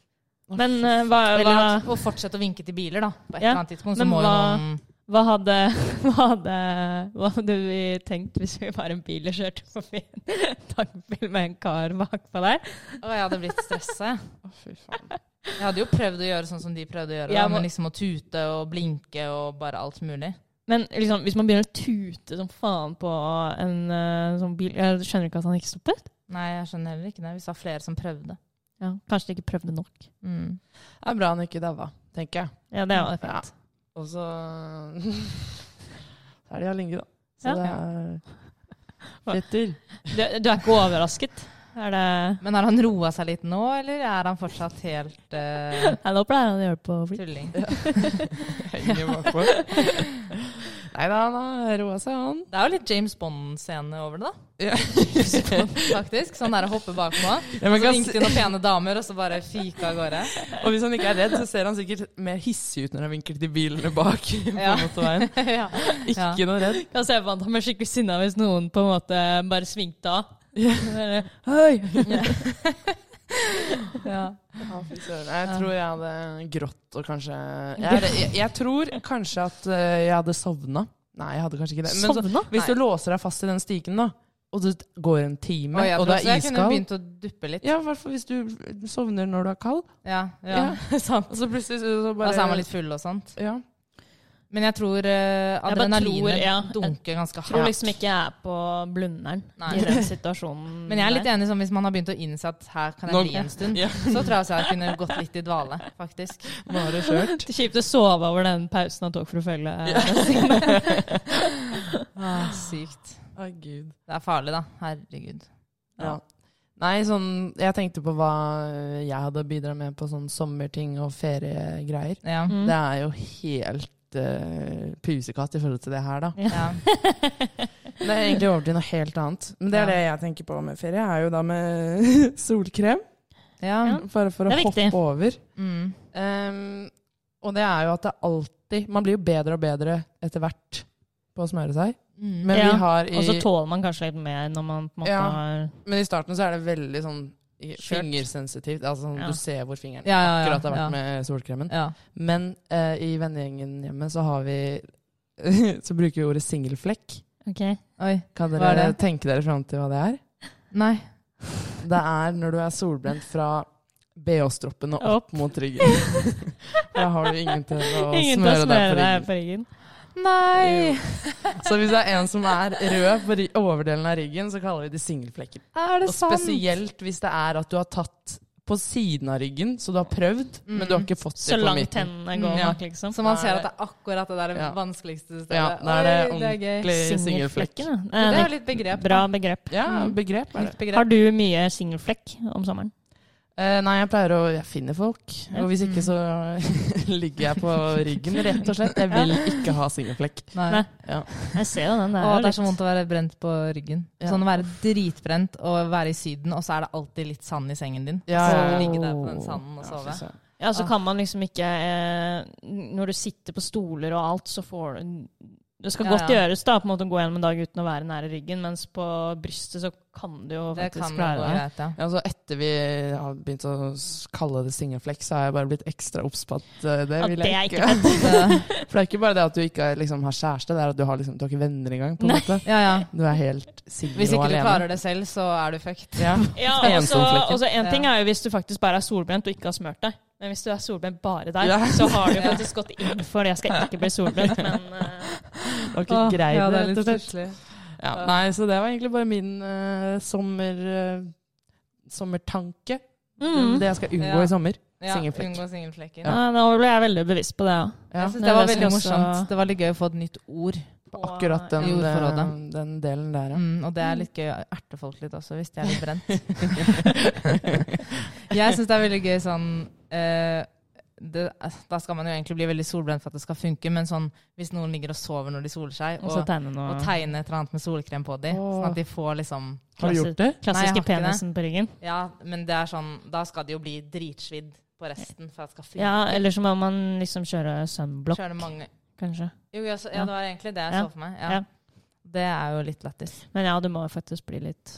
S3: Men eh, hva, hva,
S4: Eller at, og fortsette å vinke til biler, da. På et
S3: Ja,
S4: eller annet tidspunkt. Så
S3: men
S4: må jo
S3: hva-
S4: noen
S3: hva, hadde, hva, hadde, hva hadde vi tenkt hvis vi var en bil og kjørte forbi en tankbil med en kar bakpå der?
S4: Å, jeg hadde blitt stressa, jeg.
S1: Å, fy faen.
S4: Jeg hadde jo prøvd å gjøre sånn som de prøvde å gjøre,
S3: Ja,
S4: da,
S3: men-
S4: men liksom å tute og blinke og bare alt mulig.
S3: Men liksom, hvis man begynner å tute som faen på en eh, sånn bil Jeg skjønner ikke at han ikke stoppet.
S4: Nei, jeg skjønner heller ikke det. Vi sa flere som prøvde.
S3: Ja, kanskje de ikke prøvde nok.
S4: Mm.
S1: Det er bra han ikke daua, tenker jeg.
S3: Ja, det var fint.
S1: Ja. Og så Så er det Jalinge, da. Så
S3: Ja.
S1: det er fetter.
S3: Du, du er ikke overrasket? Er det
S4: Men har han roa seg litt nå, eller er han fortsatt helt eh,
S3: Nei, nå pleier han å gjøre det på fly.
S4: tulling?
S1: Henger bakpå. Nei da, han har roa seg, han.
S4: Det er jo litt James Bond-scene over det, da.
S1: Ja.
S4: Faktisk. Sånn der å hoppe bakpå.
S1: Ja, men
S4: Så
S1: kan-
S4: ringte de noen pene damer, og så bare fika av gårde.
S1: Og hvis han ikke er redd, så ser han sikkert mer hissig ut når han vinker til bilene bak på
S4: Ja.
S1: motorveien.
S4: ja.
S1: Ikke
S4: Ja.
S1: noe redd.
S3: Kan se på han at han blir skikkelig sinna hvis noen på en måte bare svingte av. Bare, Hei!
S4: Ja.
S1: Ja, fy søren. Jeg tror jeg hadde grått og kanskje Jeg, jeg, jeg tror kanskje at eh, jeg hadde sovna. Nei, jeg hadde kanskje ikke det. Men så,
S3: Sovna?
S1: hvis du låser deg fast i den stigen, da, og det går en time,
S4: Og jeg
S1: og
S4: tror
S1: du
S4: også
S1: er
S4: jeg kunne
S1: iskald
S4: begynt å duppe litt.
S1: Ja, i hvert fall hvis du sovner når du er kald.
S4: Ja, ja.
S1: sant. Og så plutselig så så bare
S4: Og så er man litt full og sånt.
S1: ja.
S4: Men jeg tror eh,
S3: Jeg bare
S4: adrenalinet
S3: tror, ja.
S4: dunker ganske
S3: Tror
S4: hardt.
S3: liksom ikke jeg er på blunderen
S4: Nei.
S3: i den situasjonen.
S4: Men jeg er litt
S3: der.
S4: enig sånn, hvis man har begynt å innse at her kan jeg
S1: Nå-
S4: bli en stund,
S1: Ja.
S4: så tror jeg også jeg kunne gått litt i dvale, faktisk.
S1: Bare kjørt.
S3: Det er Kjipt å sove over den pausen av togforfølge.
S4: Ah, sykt.
S1: Å, gud.
S4: Det er farlig, da. Herregud.
S1: Ja. Nei, sånn Jeg tenkte på hva jeg hadde bidratt med på sånn sommerting og feriegreier.
S4: Ja.
S3: Mm.
S1: Det er jo helt eh, pusekatt i forhold til det her, da.
S4: ja.
S1: Det er egentlig over til noe helt annet. Men det er
S4: Ja.
S1: det jeg tenker på med ferie, er jo da med solkrem.
S4: ja.
S1: Bare for å
S3: Det er
S1: hoppe
S3: viktig.
S1: over.
S4: Mm.
S1: Ehm, og det er jo at det alltid Man blir jo bedre og bedre etter hvert på å smøre seg.
S4: Mm.
S1: Men,
S3: Ja,
S1: vi har
S3: Og så
S1: i,
S3: tåler man kanskje litt mer når man på en måte
S1: Ja.
S3: har
S1: men i starten så er det veldig sånn i-
S3: Skjørt.
S1: fingersensitivt. Altså sånn,
S3: Ja.
S1: Du ser hvor fingeren
S4: Ja, ja, ja,
S1: akkurat har vært
S4: ja.
S1: med solkremen.
S4: Ja.
S1: Men eh, i vennegjengen hjemme så har vi Så bruker vi ordet singelflekk.
S3: Ok.
S4: Oi.
S1: Kan
S4: Hva er
S1: dere
S4: det?
S1: tenke dere fram til hva det er?
S4: Nei.
S1: Det er når du er solbrent fra BH-stroppen og opp mot ryggen. Da har du ingen til å
S3: Ingen til
S1: smøre deg på
S3: å smøre deg
S1: ryggen.
S3: på ryggen.
S4: Nei!
S1: Så hvis det er en som er rød på ry- overdelen av ryggen, så kaller vi det singelflekker.
S4: Er det
S1: Og
S4: sant?
S1: spesielt hvis det er at du har tatt på siden av ryggen, så du har prøvd, men du har ikke fått
S3: Mm.
S1: det
S3: Så
S1: på
S3: langt
S1: midten.
S3: hendene går
S1: Mm, ja.
S3: nok, liksom.
S4: Så man ser at det er akkurat det der
S1: Ja.
S4: vanskeligste stedet.
S1: Ja, da er det
S4: Oi,
S1: ordentlig singelflekk.
S3: Singelflekken, ja. Mm.
S4: Det
S3: Eh,
S4: er
S3: Det er
S4: jo litt begrep.
S3: et bra begrep.
S1: Ja, begrep er det.
S4: Litt begrep.
S3: Har du mye singelflekk om sommeren?
S1: Eh, nei, jeg pleier å Jeg finner folk. Og hvis ikke, så
S3: Mm.
S1: ligger jeg på ryggen, rett og slett. Jeg vil ikke ha singelflekk.
S4: Nei.
S3: Nei.
S1: Ja.
S3: Jeg ser jo den. Det
S4: Å,
S3: er, jo
S4: det er
S3: litt-
S4: så vondt å være brent på ryggen.
S1: Ja.
S4: Sånn å være dritbrent og være i Syden, og så er det alltid litt sand i sengen din.
S1: Ja,
S4: så
S1: ja, ja.
S4: ligge der på den sanden og sove.
S1: fy søren.
S3: Ja, så kan man liksom ikke eh, Når du sitter på stoler og alt, så får du Det skal
S4: Ja,
S3: godt
S4: ja.
S3: gjøres da, på en måte å gå gjennom en dag uten å være nære ryggen, mens på brystet så kan du jo
S4: det kan jo
S3: faktisk
S4: gå
S3: klare det.
S4: greit, ja.
S1: Ja, så etter vi har begynt å s- kalle det singelflekk, så har jeg bare blitt ekstra obs på at eh, det
S3: At
S1: vil
S3: det er
S1: jeg ikke. For det er ikke bare det at du ikke liksom, har kjæreste, det er at du har, liksom, du har ikke venner engang. på en måte.
S4: ja, ja.
S1: Du er helt singel
S4: Hvis
S1: og
S4: ikke du
S1: alene.
S4: klarer det selv, så er du fucked.
S1: Ja.
S3: Ja, og så-
S1: Ensomflekken.
S3: og så en ting
S4: Ja.
S3: er jo hvis du faktisk bare er solbrent og ikke har smurt deg. Men hvis du er solbrent bare der,
S1: Ja.
S3: så har du jo faktisk gått inn for det. Jeg skal ikke bli solbrent, men eh,
S1: Det var ikke greit,
S4: ja, det er
S1: rett
S4: litt
S1: og slett.
S4: stusslig.
S1: Ja, nei, så det var egentlig bare min eh, sommer, eh, sommertanke.
S3: mm.
S1: Det jeg skal unngå
S4: Ja.
S1: i sommer.
S4: Ja,
S1: Singelflekk.
S4: Unngå singelflekken.
S3: ja. Nå ble jeg veldig bevisst på det òg.
S1: Ja,
S4: Jeg syns
S3: det
S4: det var
S3: skal
S4: veldig
S3: også-
S4: morsomt. Det var litt gøy å få et nytt ord.
S1: på akkurat den,
S4: i ordforrådet.
S1: eh, den delen der, ja.
S4: Mm, og det er litt gøy å erte folk litt også, hvis de er litt brent. jeg syns det er veldig gøy sånn eh, det, altså, Da skal man jo egentlig bli veldig solbrent for at det skal funke, men sånn hvis noen ligger og sover når de soler seg,
S3: Og så
S4: og,
S3: tegne
S4: og
S3: noe
S4: tegne et eller annet med solkrem på dem,
S1: Åh.
S4: sånn at de får liksom
S1: Har du gjort det?
S4: Nei,
S3: klassiske
S4: jeg har ikke det.
S3: penisen på ryggen.
S4: Ja, men det er sånn Da skal de jo bli dritsvidd på resten for at det skal funke.
S3: Ja, eller så må man liksom kjøre sunblock,
S4: Kjører det mange
S3: kanskje.
S4: Jo, ja, så, ja, det var egentlig det jeg
S3: Ja.
S4: så for meg. Ja.
S3: Ja.
S4: Det er jo litt lættis.
S3: Men ja, du må jo faktisk bli litt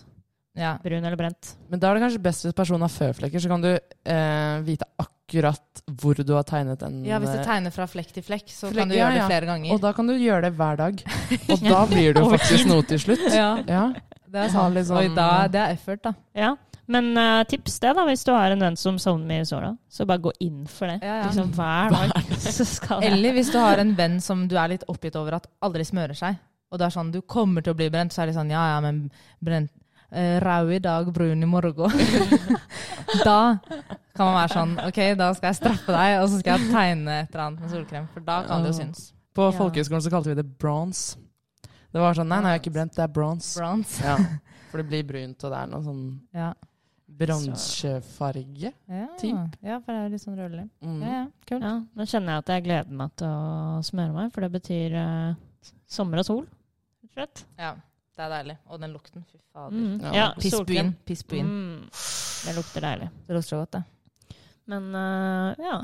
S4: Ja.
S3: brun eller brent.
S1: Men da er det kanskje best hvis personen har føflekker, så kan du eh, vite akkurat hvor du har tegnet den.
S4: ja, hvis du
S1: eh,
S4: tegner fra flekk til flekk, så
S1: Flekk,
S4: kan du
S1: ja,
S4: gjøre
S1: ja.
S4: det flere ganger.
S1: Og da kan du gjøre det hver dag. Og da blir du
S3: Over
S1: faktisk noe til slutt.
S4: ja,
S1: Ja. Ha
S4: det er liksom- sant.
S1: litt sånn-
S4: Oi, da, det er effort, da.
S3: Ja. Men eh, tips det, da, hvis du har en venn som sovner mye i såla. Så bare gå inn for det.
S4: Ja, ja.
S3: Liksom hver dag. Så skal det.
S4: Eller hvis du har en venn som du er litt oppgitt over at aldri smører seg, og det er sånn du kommer til å bli brent, så er det sånn ja ja, men brent eh, Rød i dag, brun i morgen. da kan man være sånn OK, da skal jeg straffe deg, og så skal jeg tegne et eller annet med solkrem. For da kan det jo synes.
S1: På
S3: Ja.
S1: folkehøyskolen så kalte vi det bronze. Det var sånn Nei, nei, jeg er ikke brent, det er bronze.
S4: Bronze.
S1: Ja. For det blir brunt, og det er noe sånn
S4: Ja.
S1: Bronsefarge.
S4: Ja.
S1: Typ.
S4: ja, for det er jo litt sånn rødlig.
S1: Mm.
S4: Ja, ja, kult.
S3: Ja, nå kjenner jeg at jeg gleder meg til å smøre meg, for det betyr eh, sommer og sol. rett og slett.
S4: Ja, det er deilig. Og den lukten, fy fader.
S3: Mm.
S1: Ja,
S3: Ja,
S4: Piss på
S3: solkrem.
S4: inn, Piss på inn.
S3: Mm. Det lukter deilig.
S4: Det lukter så godt, det.
S3: Men eh, ja.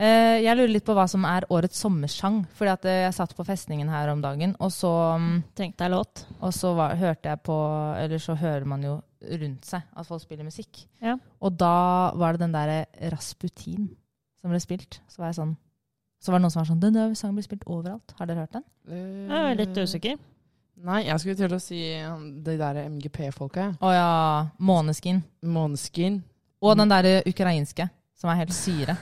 S4: Eh, jeg lurer litt på hva som er årets sommersang. Fordi at eh, jeg satt på festningen her om dagen, og så, mm,
S3: Tenk deg låt.
S4: og så var, hørte jeg på Eller så hører man jo rundt seg at folk spiller musikk.
S3: Ja.
S4: Og da var det den derre Rasputin som ble spilt. Så var jeg sånn så var det noen som var sånn Den der sangen blir spilt overalt. Har dere hørt den?
S3: Jeg er
S4: Mm.
S3: litt usikker.
S1: Eh, Nei, jeg skulle til å si um, de der MGP-folka.
S4: Å ja. Måneskin.
S1: Måneskin.
S4: Og den derre ukrainske, som er helt syre.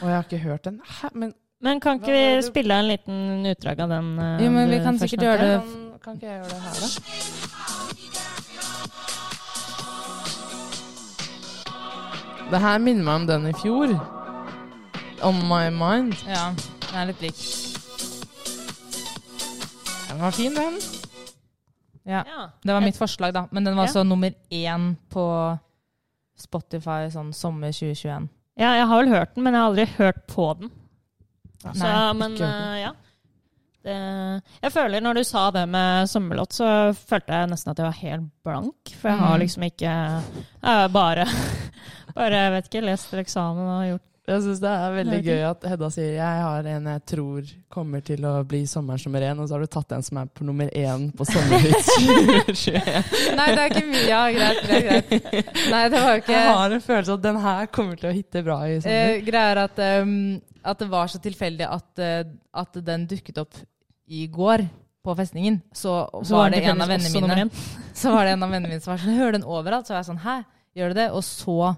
S1: Og jeg har ikke hørt den. Hæ, men
S3: Men kan ikke
S1: Hva er
S3: vi
S1: det-
S3: spille en liten utdrag av den? eh,
S4: Jo, men vi
S3: du
S4: kan
S3: først
S4: sikkert
S3: nevnte?
S4: gjøre det.
S1: kan, sånn, kan ikke jeg gjøre det her, da? Det her minner meg om den i fjor. On my mind.
S4: Ja, den er litt lik.
S1: Den var fin, den.
S4: Ja.
S3: Ja.
S4: Det var mitt forslag, da. Men den var
S3: Ja.
S4: altså nummer én på Spotify sånn sommer 2021.
S3: ja, jeg har vel hørt den, men jeg har aldri hørt på den. Så,
S4: Nei,
S3: men
S1: ikke hørt
S3: eh, ja. Det, jeg føler når du sa det med sommerlåt, så følte jeg nesten at jeg var helt blank. For jeg har
S4: Mm.
S3: liksom ikke Jeg har bare, bare jeg vet ikke, lest til eksamen og gjort
S1: Jeg syns det er veldig
S3: Jeg vet
S1: gøy at Hedda sier jeg har en jeg tror kommer til å bli sommerens nummer én, og så har du tatt en som er på nummer én på sommerhits 2021.
S4: Nei, det er ikke mye. Ja, greit, greit, greit. Nei, det var jo ikke
S1: Jeg har sånn en følelse at den her kommer til å hitte bra i sommer.
S4: eh, Greia er at, ehm, at det var så tilfeldig at, eh, at den dukket opp i går på festningen. Så, var det en av vennene
S3: tilfeldigvis også nummer
S4: mine
S3: én.
S4: Så var det en av vennene mine som var sånn Jeg hører den overalt. Så var jeg sånn Hæ, gjør du det? Og så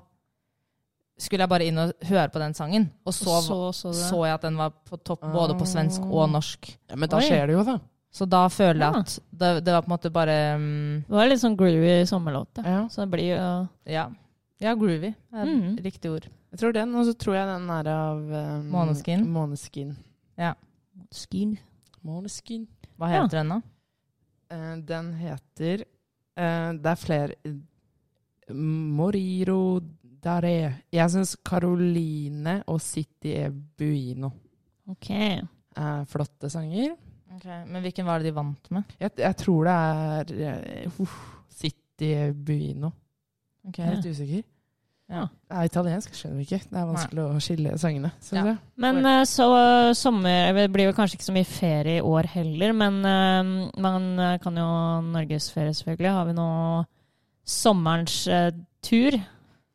S4: skulle jeg bare inn og høre på den sangen. Og så,
S3: Og så, så, det.
S4: så jeg at den var på topp både på svensk og norsk.
S1: Ja, men da
S3: Oi.
S1: skjer det jo, da.
S4: Så da føler
S3: Ja.
S4: jeg at det, det var på en måte bare mm,
S3: det var litt sånn groovy sommerlåt. Ja.
S1: Ja.
S3: Så det blir jo
S4: Ja, ja groovy er
S3: Mm.
S4: riktig ord.
S1: Jeg tror den, og så tror jeg den er av um,
S4: Måneskin.
S1: Måneskin.
S3: skin.
S1: Måneskin.
S4: Hva
S3: Ja.
S4: heter den da?
S1: Eh, den heter eh, Det er flere Moriro Dare. Jeg syns Caroline og City E Buino
S3: Ok.
S1: er flotte sanger.
S4: Men hvilken var det de vant med?
S1: Jeg, jeg tror det er eh, uff, City E Buino. Jeg er litt usikker.
S4: Ja.
S1: Det er italiensk, skjønner vi ikke. Det er vanskelig å skille sangene. Synes
S4: Ja.
S1: jeg.
S3: Men eh, så eh, sommer Det blir jo kanskje ikke så mye ferie i år heller, men eh, man eh, kan jo norgesferie, selvfølgelig. Har vi nå sommerens eh, tur?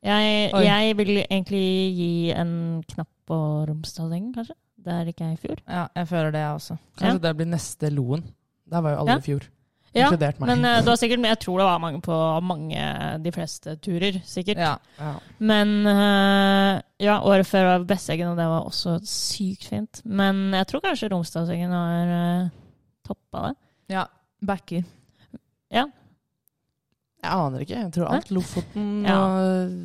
S3: Jeg,
S4: Oi.
S3: jeg vil egentlig gi en knapp på Romsdalsengen, kanskje. Der gikk jeg i fjor.
S4: Ja, jeg føler det jeg også.
S1: Kanskje det blir neste Loen. Der var jo alle
S3: Ja.
S1: i fjor.
S3: Ja,
S1: Inkludert meg.
S3: men eh, det var sikkert, men jeg tror det var mange på mange, de fleste turer, sikkert.
S4: Ja.
S1: ja.
S3: Men eh, ja, året før var Besseggen, og det var også sykt fint. Men jeg tror kanskje Romsdalsengen har eh, toppa det.
S4: ja. Backer.
S1: Jeg aner ikke. Jeg tror alt Lofoten
S3: Ja.
S1: og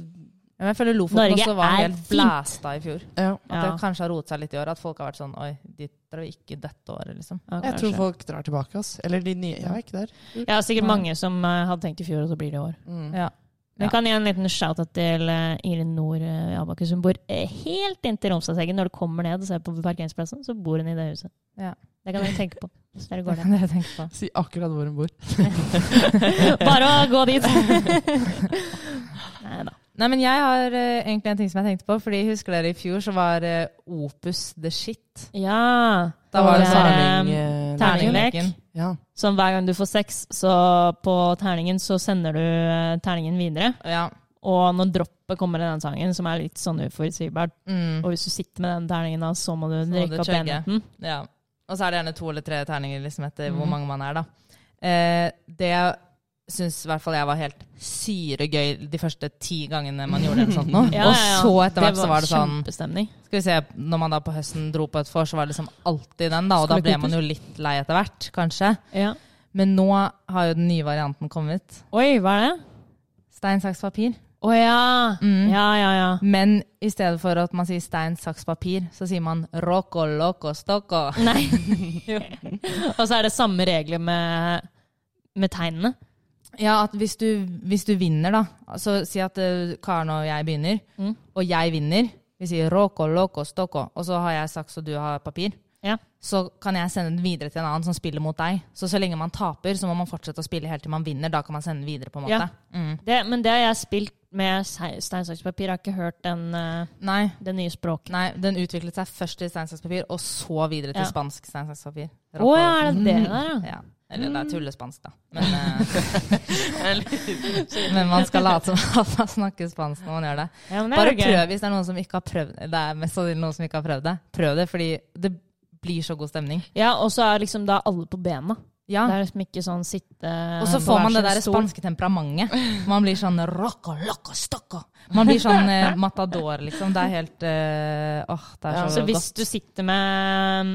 S4: Ja, men jeg føler Lofoten
S3: Norge
S4: også var
S3: er
S4: helt
S3: fint.
S4: blæsta i fjor.
S1: ja.
S4: At
S3: Ja.
S4: det kanskje har rotet seg litt i år. At folk har vært sånn Oi, dit drar vi ikke dette året, liksom.
S3: Ja,
S1: Jeg
S3: kanskje.
S1: tror folk drar tilbake, ass. Eller de nye. Jeg var ikke der.
S3: Jeg har sikkert
S4: Nei.
S3: mange som eh, hadde tenkt i fjor, og så blir det i år.
S1: Mm.
S4: Ja. Ja.
S3: Men jeg kan gi en liten shout-out til eh, Irin Nord eh, i Abakus. Hun bor eh, helt inntil Romsdalseggen. Når du kommer ned og ser på parkeringsplassen, så bor hun i det huset.
S4: Ja.
S3: Det kan dere tenke på. Så dere
S4: Det
S3: går
S4: kan dere tenke på.
S1: Si akkurat hvor hun bor.
S3: der. Bare å gå dit! Nei da.
S4: Nei, men jeg har eh, egentlig en ting som jeg tenkte på. Fordi husker dere i fjor så var eh, Opus the shit.
S3: Ja.
S4: Da var det
S3: Og
S1: terning...
S3: eh,
S1: eh,
S3: terninglek.
S4: terningleken.
S1: Ja.
S3: Som hver gang du får sex, så på terningen så sender du eh, terningen videre.
S4: Ja.
S3: Og når droppet kommer i den sangen, som er litt sånn uforutsigbart,
S4: Mm.
S3: og hvis du sitter med den terningen da, så må du
S4: må du
S3: drikke opp
S4: chugge.
S3: enten.
S4: Ja. Og så er det gjerne to eller tre terninger liksom, etter
S3: Mhm.
S4: hvor mange man er, da. Eh, det syns i hvert fall jeg var helt syregøy de første ti gangene man gjorde det. Sånt, nå.
S3: Ja,
S4: Og
S3: ja, ja.
S4: så etter hvert så var det sånn
S3: Kjempestemning.
S4: Skal vi se, Når man da på høsten dro på et vors, så var det liksom alltid den, da. Og da
S3: Skulle
S4: ble
S3: kokes.
S4: man jo litt lei etter hvert, kanskje.
S3: Ja.
S4: Men nå har jo den nye varianten kommet.
S3: Oi, hva er det?
S4: Stein, saks, papir.
S3: Å ja.
S4: Mm.
S3: Ja, ja, ja.
S4: Men i stedet for at man sier stein, saks, papir, så sier man roco, loco, stoco.
S3: Nei. og så er det samme regler med, med tegnene.
S4: Ja, at hvis du, hvis du vinner, da. Altså, si at eh, Karen og jeg begynner,
S3: Mm.
S4: og jeg vinner. Vi sier roko, loko, stoko, og så har jeg saks og du har papir.
S3: Ja.
S4: Så kan jeg sende den videre til en annen som spiller mot deg. Så så lenge man taper, så må man fortsette å spille helt til man vinner. Da kan man sende den videre, på en måte. Mm.
S3: Ja. Det, men det har jeg spilt med se- stein, saks, papir. Jeg har ikke hørt den, eh,
S4: Nei,
S3: det nye språket.
S4: nei, den utviklet seg først til stein, saks, papir, og så videre til
S3: Ja.
S4: spansk stein, saks, papir.
S3: Å ja, Mm. er det det der, ja?
S4: Ja. Eller det er tullespansk, da. Men, eh, men man skal late som at man snakker spansk når man gjør det.
S3: ja men det er
S4: Bare
S3: jo gøy.
S4: prøv hvis det er noen som ikke har prøvd det. Det er mest sannsynlig noen som ikke har prøvd det. Prøv det, fordi det blir så god stemning.
S3: Ja, og så er liksom da alle på bena.
S4: Ja.
S3: Det er liksom ikke sånn sitte
S4: Og så
S3: på
S4: får
S3: hver
S4: man det
S3: sin
S4: der
S3: stol.
S4: spanske temperamentet. Man blir sånn rocco, loco, stocco. Man blir sånn eh, matador, liksom. Det er helt eh, Åh, det er
S3: Ja,
S4: så,
S3: så hvis
S4: godt.
S3: du sitter med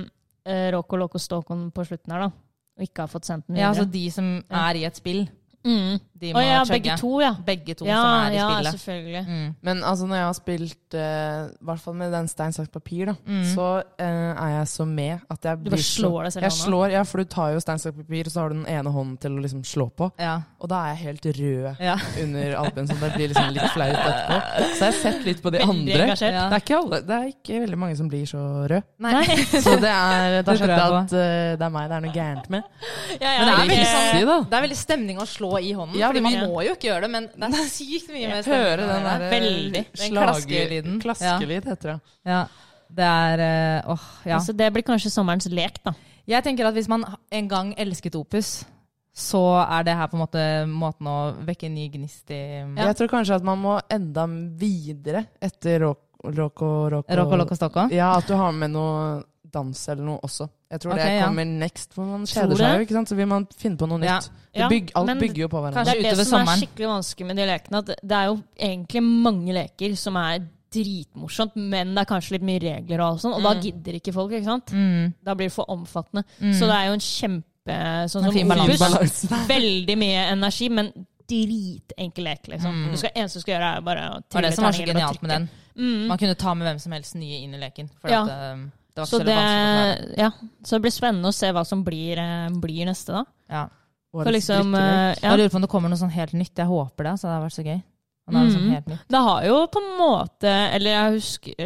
S3: uh, Roko Loco Stokon på slutten her, da, og ikke har fått sendt den
S4: Ja, altså
S3: videre
S4: de som
S3: Ja.
S4: er i et spill,
S3: mm.
S4: de
S3: Å
S4: må
S3: ja,
S4: chugge.
S3: begge to, ja.
S4: Begge to
S3: ja,
S4: som er i
S3: ja,
S4: spillet.
S3: selvfølgelig.
S4: Mm.
S1: Men altså, når jeg har spilt, eh, i hvert fall med den stein, saks, papir, da,
S4: Mm.
S1: så eh, er jeg så med at jeg
S3: Du
S1: blir
S3: bare
S1: så-
S3: slår deg selv i
S1: Jeg
S3: hånda.
S1: slår, ja, for du tar jo stein, saks, papir, og så har du den ene hånden til å liksom slå på.
S4: Ja.
S1: Og da er jeg helt rød
S4: Ja.
S1: under albuen, så det blir liksom litt flaut etterpå. Så jeg har sett litt på de
S3: Veldig
S1: andre.
S3: engasjert.
S1: Det er, ikke alle, det er ikke veldig mange som blir så rød.
S4: Nei.
S1: Så det er, da
S4: Det tror jeg
S1: skjønte jeg
S4: på.
S1: at eh, det er meg det er noe gærent med.
S3: Ja, ja,
S4: Men det er sånn-
S3: sånn- ikke-
S4: veldig
S1: Hissig, da.
S4: Det er veldig stemning å slå i hånden,
S1: Ja,
S4: fordi man
S3: det-
S4: må jo ikke gjøre det, men det er sykt mye mer stemning.
S1: Høre den der eh,
S3: Veldig.
S4: Den
S1: slager-
S4: klaskelyden.
S1: Klaskelyd, heter det.
S4: Ja, det er eh, Åh, ja.
S3: Altså, det blir kanskje sommerens lek, da.
S4: Jeg tenker at hvis man en gang elsket opus, så er det her på en måte måten å vekke en ny gnist i mm,
S1: Jeg tror kanskje at man må enda videre etter Roko Roko. Roko-
S4: Rock og Loco Stocco.
S1: Ja, at du har med noe dans eller noe også. Jeg tror
S4: Ok,
S1: det
S4: ja.
S1: kommer next, for man
S3: Tror
S1: kjeder
S3: det.
S1: seg jo, ikke sant? Så vil man finne på noe
S4: Ja.
S1: nytt.
S3: Ja,
S1: Det bygg, alt
S3: men-
S1: bygger jo på hverandre.
S4: Kanskje
S3: det er
S4: utover
S3: det som
S4: sommeren.
S3: er skikkelig vanskelig med de lekene. At det er jo egentlig mange leker som er dritmorsomt, men det er kanskje litt mye regler og alt sånt, og
S4: Mm.
S3: da gidder ikke folk, ikke sant? Da blir det for omfattende. Så det er jo en kjempe sånn
S4: En
S3: som
S4: fin balanse.
S3: Opus.
S1: Balansen.
S3: Veldig mye energi, men dritenkel lek, liksom. Det skal, eneste du skal gjøre, er bare å
S4: Mm. Det var det
S3: trille
S4: som var så
S3: terninger og
S4: genialt med
S3: trykke.
S4: den.
S3: Mm.
S4: Man kunne ta med hvem som helst nye inn i leken. For
S3: Ja.
S4: at, eh, det var ikke så
S3: Så det,
S4: veldig vanskelig å forklare.
S3: ja, så det blir spennende å se hva som blir, eh, blir neste, da.
S4: Ja.
S1: Årets
S3: For liksom,
S1: drikkelek.
S3: eh, ja.
S4: Jeg lurer på om det kommer noe sånn helt nytt. Jeg håper det. Så det har vært så gøy. Men det er sånn
S3: Mm.
S4: helt nytt.
S3: Det har jo på en måte Eller jeg husker eh,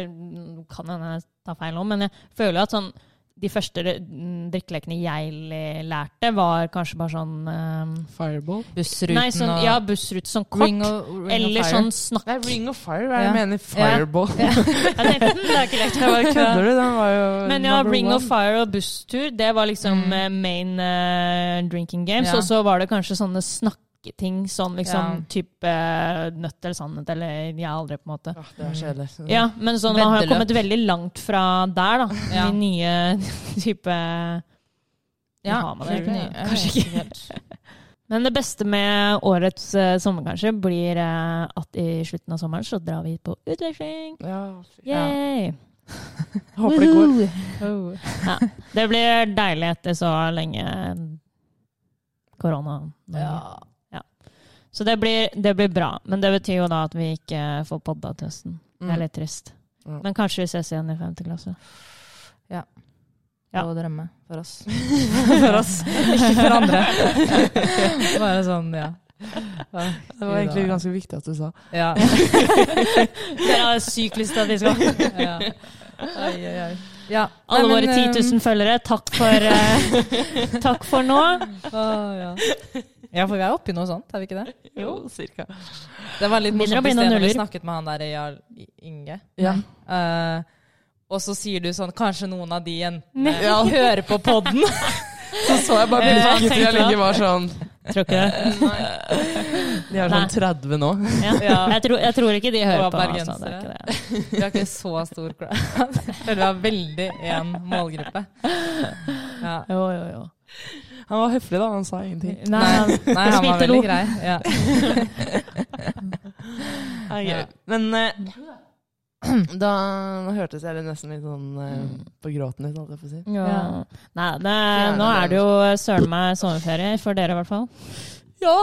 S3: Kan hende jeg tar feil nå, men jeg føler at sånn de første mm, drikkelekene jeg le- lærte, var kanskje bare sånn eh,
S1: Fireball?
S4: Bussruten
S3: Nei, sånn,
S4: og
S3: ja, bussrute, sånn kort.
S4: Ring of, Ring of
S3: eller
S4: Fire.
S3: sånn snakk.
S1: Nei, Ring of Fire, hva er det
S4: Ja.
S1: jeg mener? Fireball.
S3: Jeg tenkte, "Hm, det er ikke riktig.
S1: Hva kødder du? Den var jo
S3: Men ja,
S1: number
S3: Ring
S1: one.
S3: of Fire og busstur, det var liksom eh, main eh, drinking games.
S4: Ja.
S3: Og så var det kanskje sånne snakketing, sånn liksom
S4: Ja.
S3: type eh, nøtt eller sannhet eller jeg aldri, på en måte.
S1: Åh, Ah, Det var kjedelig.
S3: Ja, men sånn, man har jo
S4: Veddeløp.
S3: kommet veldig langt fra der, da.
S4: Ja.
S3: De nye type
S4: Ja,
S3: har man
S4: helt
S3: det, ikke?
S4: ny.
S3: Kanskje
S4: Jeg vet ikke.
S3: Men det beste med årets eh, sommer, kanskje, blir eh, at i slutten av sommeren så drar vi på utveksling.
S1: Ja, fy-
S3: Yay!
S1: Håper det går.
S3: Ja. Det blir deilig etter så lenge korona.
S4: Ja.
S3: Så det blir, det blir bra. Men det betyr jo da at vi ikke får podda til høsten.
S1: Mm.
S3: Det er litt trist.
S1: Ja.
S3: Men kanskje vi ses igjen i femte klasse. Ja.
S4: Lov å drømme for oss. for oss, ikke for andre. Bare sånn, ja.
S1: Det var egentlig ganske viktig at du sa.
S4: Ja.
S3: Dere har sykt lyst til at vi skal
S4: ja. Oi, oi, oi. Ja.
S3: Alle
S4: Nei,
S3: våre
S4: men, eh,
S3: 10 000 følgere, takk for, eh, takk for nå.
S4: eh, å, ja. ja, for vi er oppi noe sånt, er vi ikke det?
S1: Jo, cirka.
S4: Det var litt
S3: Begynner å
S4: morsomt i
S3: bli noen
S4: sted når vi
S3: nuller.
S4: snakket med han der Jarl Inge.
S1: Ja.
S4: Eh, og så sier du sånn Kanskje noen av de jentene
S3: Nei.
S4: ja. hører på podden.
S1: Så så jeg bare
S3: Eh,
S1: blikket til
S3: tenkte
S1: jeg ligger var sånn
S3: Tror ikke det.
S1: De er
S3: Nei.
S1: sånn 30 nå.
S3: Ja. Jeg, tror, jeg tror ikke de hører
S4: Og
S3: på. Altså, det er
S4: bergensere.
S3: ikke det.
S4: Vi har ikke så stor crowd. Føler vi har veldig én målgruppe. Ja.
S3: Jo, jo, jo.
S1: Han var høflig, da. Han sa ingenting.
S3: Nei, han-
S4: Nei, han var
S3: Smilte lo.
S4: veldig grei. Ja.
S1: Ja. Men eh, da nå hørtes jeg litt nesten litt sånn eh, på gråten litt, holdt jeg på å si.
S3: Ja. Nei, det,
S1: Fjerne
S3: nå er
S1: den.
S3: det jo søren meg sommerferie for dere, i hvert fall. Ja.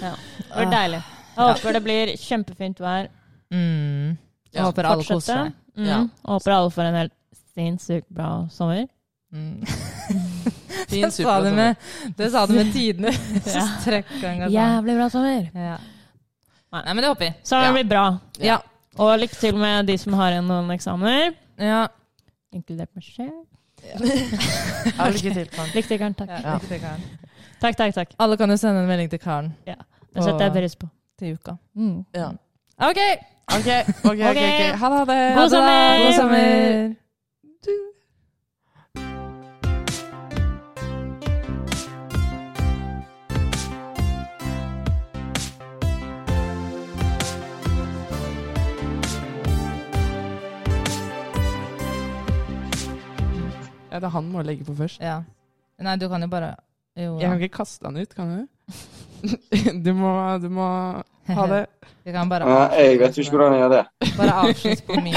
S3: Det var deilig. Jeg håper det blir kjempefint vær.
S4: Mm. Jeg håper alle koser
S3: Fortsette.
S4: seg.
S3: Mm.
S1: Ja.
S3: Håper alle får en helt sinnssykt bra sommer.
S4: Mm.
S1: Din
S4: sa det
S1: superlativ.
S4: med, det sa det med tidene. Strekk ja.
S3: Jævlig bra sommer.
S4: ja. Nei, men det håper vi.
S3: Så det blir bra.
S1: Ja.
S3: Og lykke til med de som har igjen noen eksamener.
S4: Ja.
S3: Inkludert meg selv.
S1: Ja, lykke til. Karen.
S3: Lykke til, Karen. Takk.
S4: Ja, lykke til, Karen.
S3: Takk, takk, takk.
S4: Alle kan jo sende en melding til Karen
S3: Det setter jeg pris på.
S4: til uka.
S3: Mm.
S1: Ja.
S4: OK!
S1: Ok, ok, ok. ok. Ha det, ha det.
S3: God sommer!
S4: God sommer!
S1: Ja, det er han må legge på først.
S4: Ja. Nei, du kan jo bare Jo.
S1: Jeg
S4: da.
S1: kan ikke kaste han ut, kan du? Du må, du må ha det.
S4: Vi kan bare
S5: Nei, jeg vet jo ikke hvordan jeg gjør det.
S4: Bare avslutt på min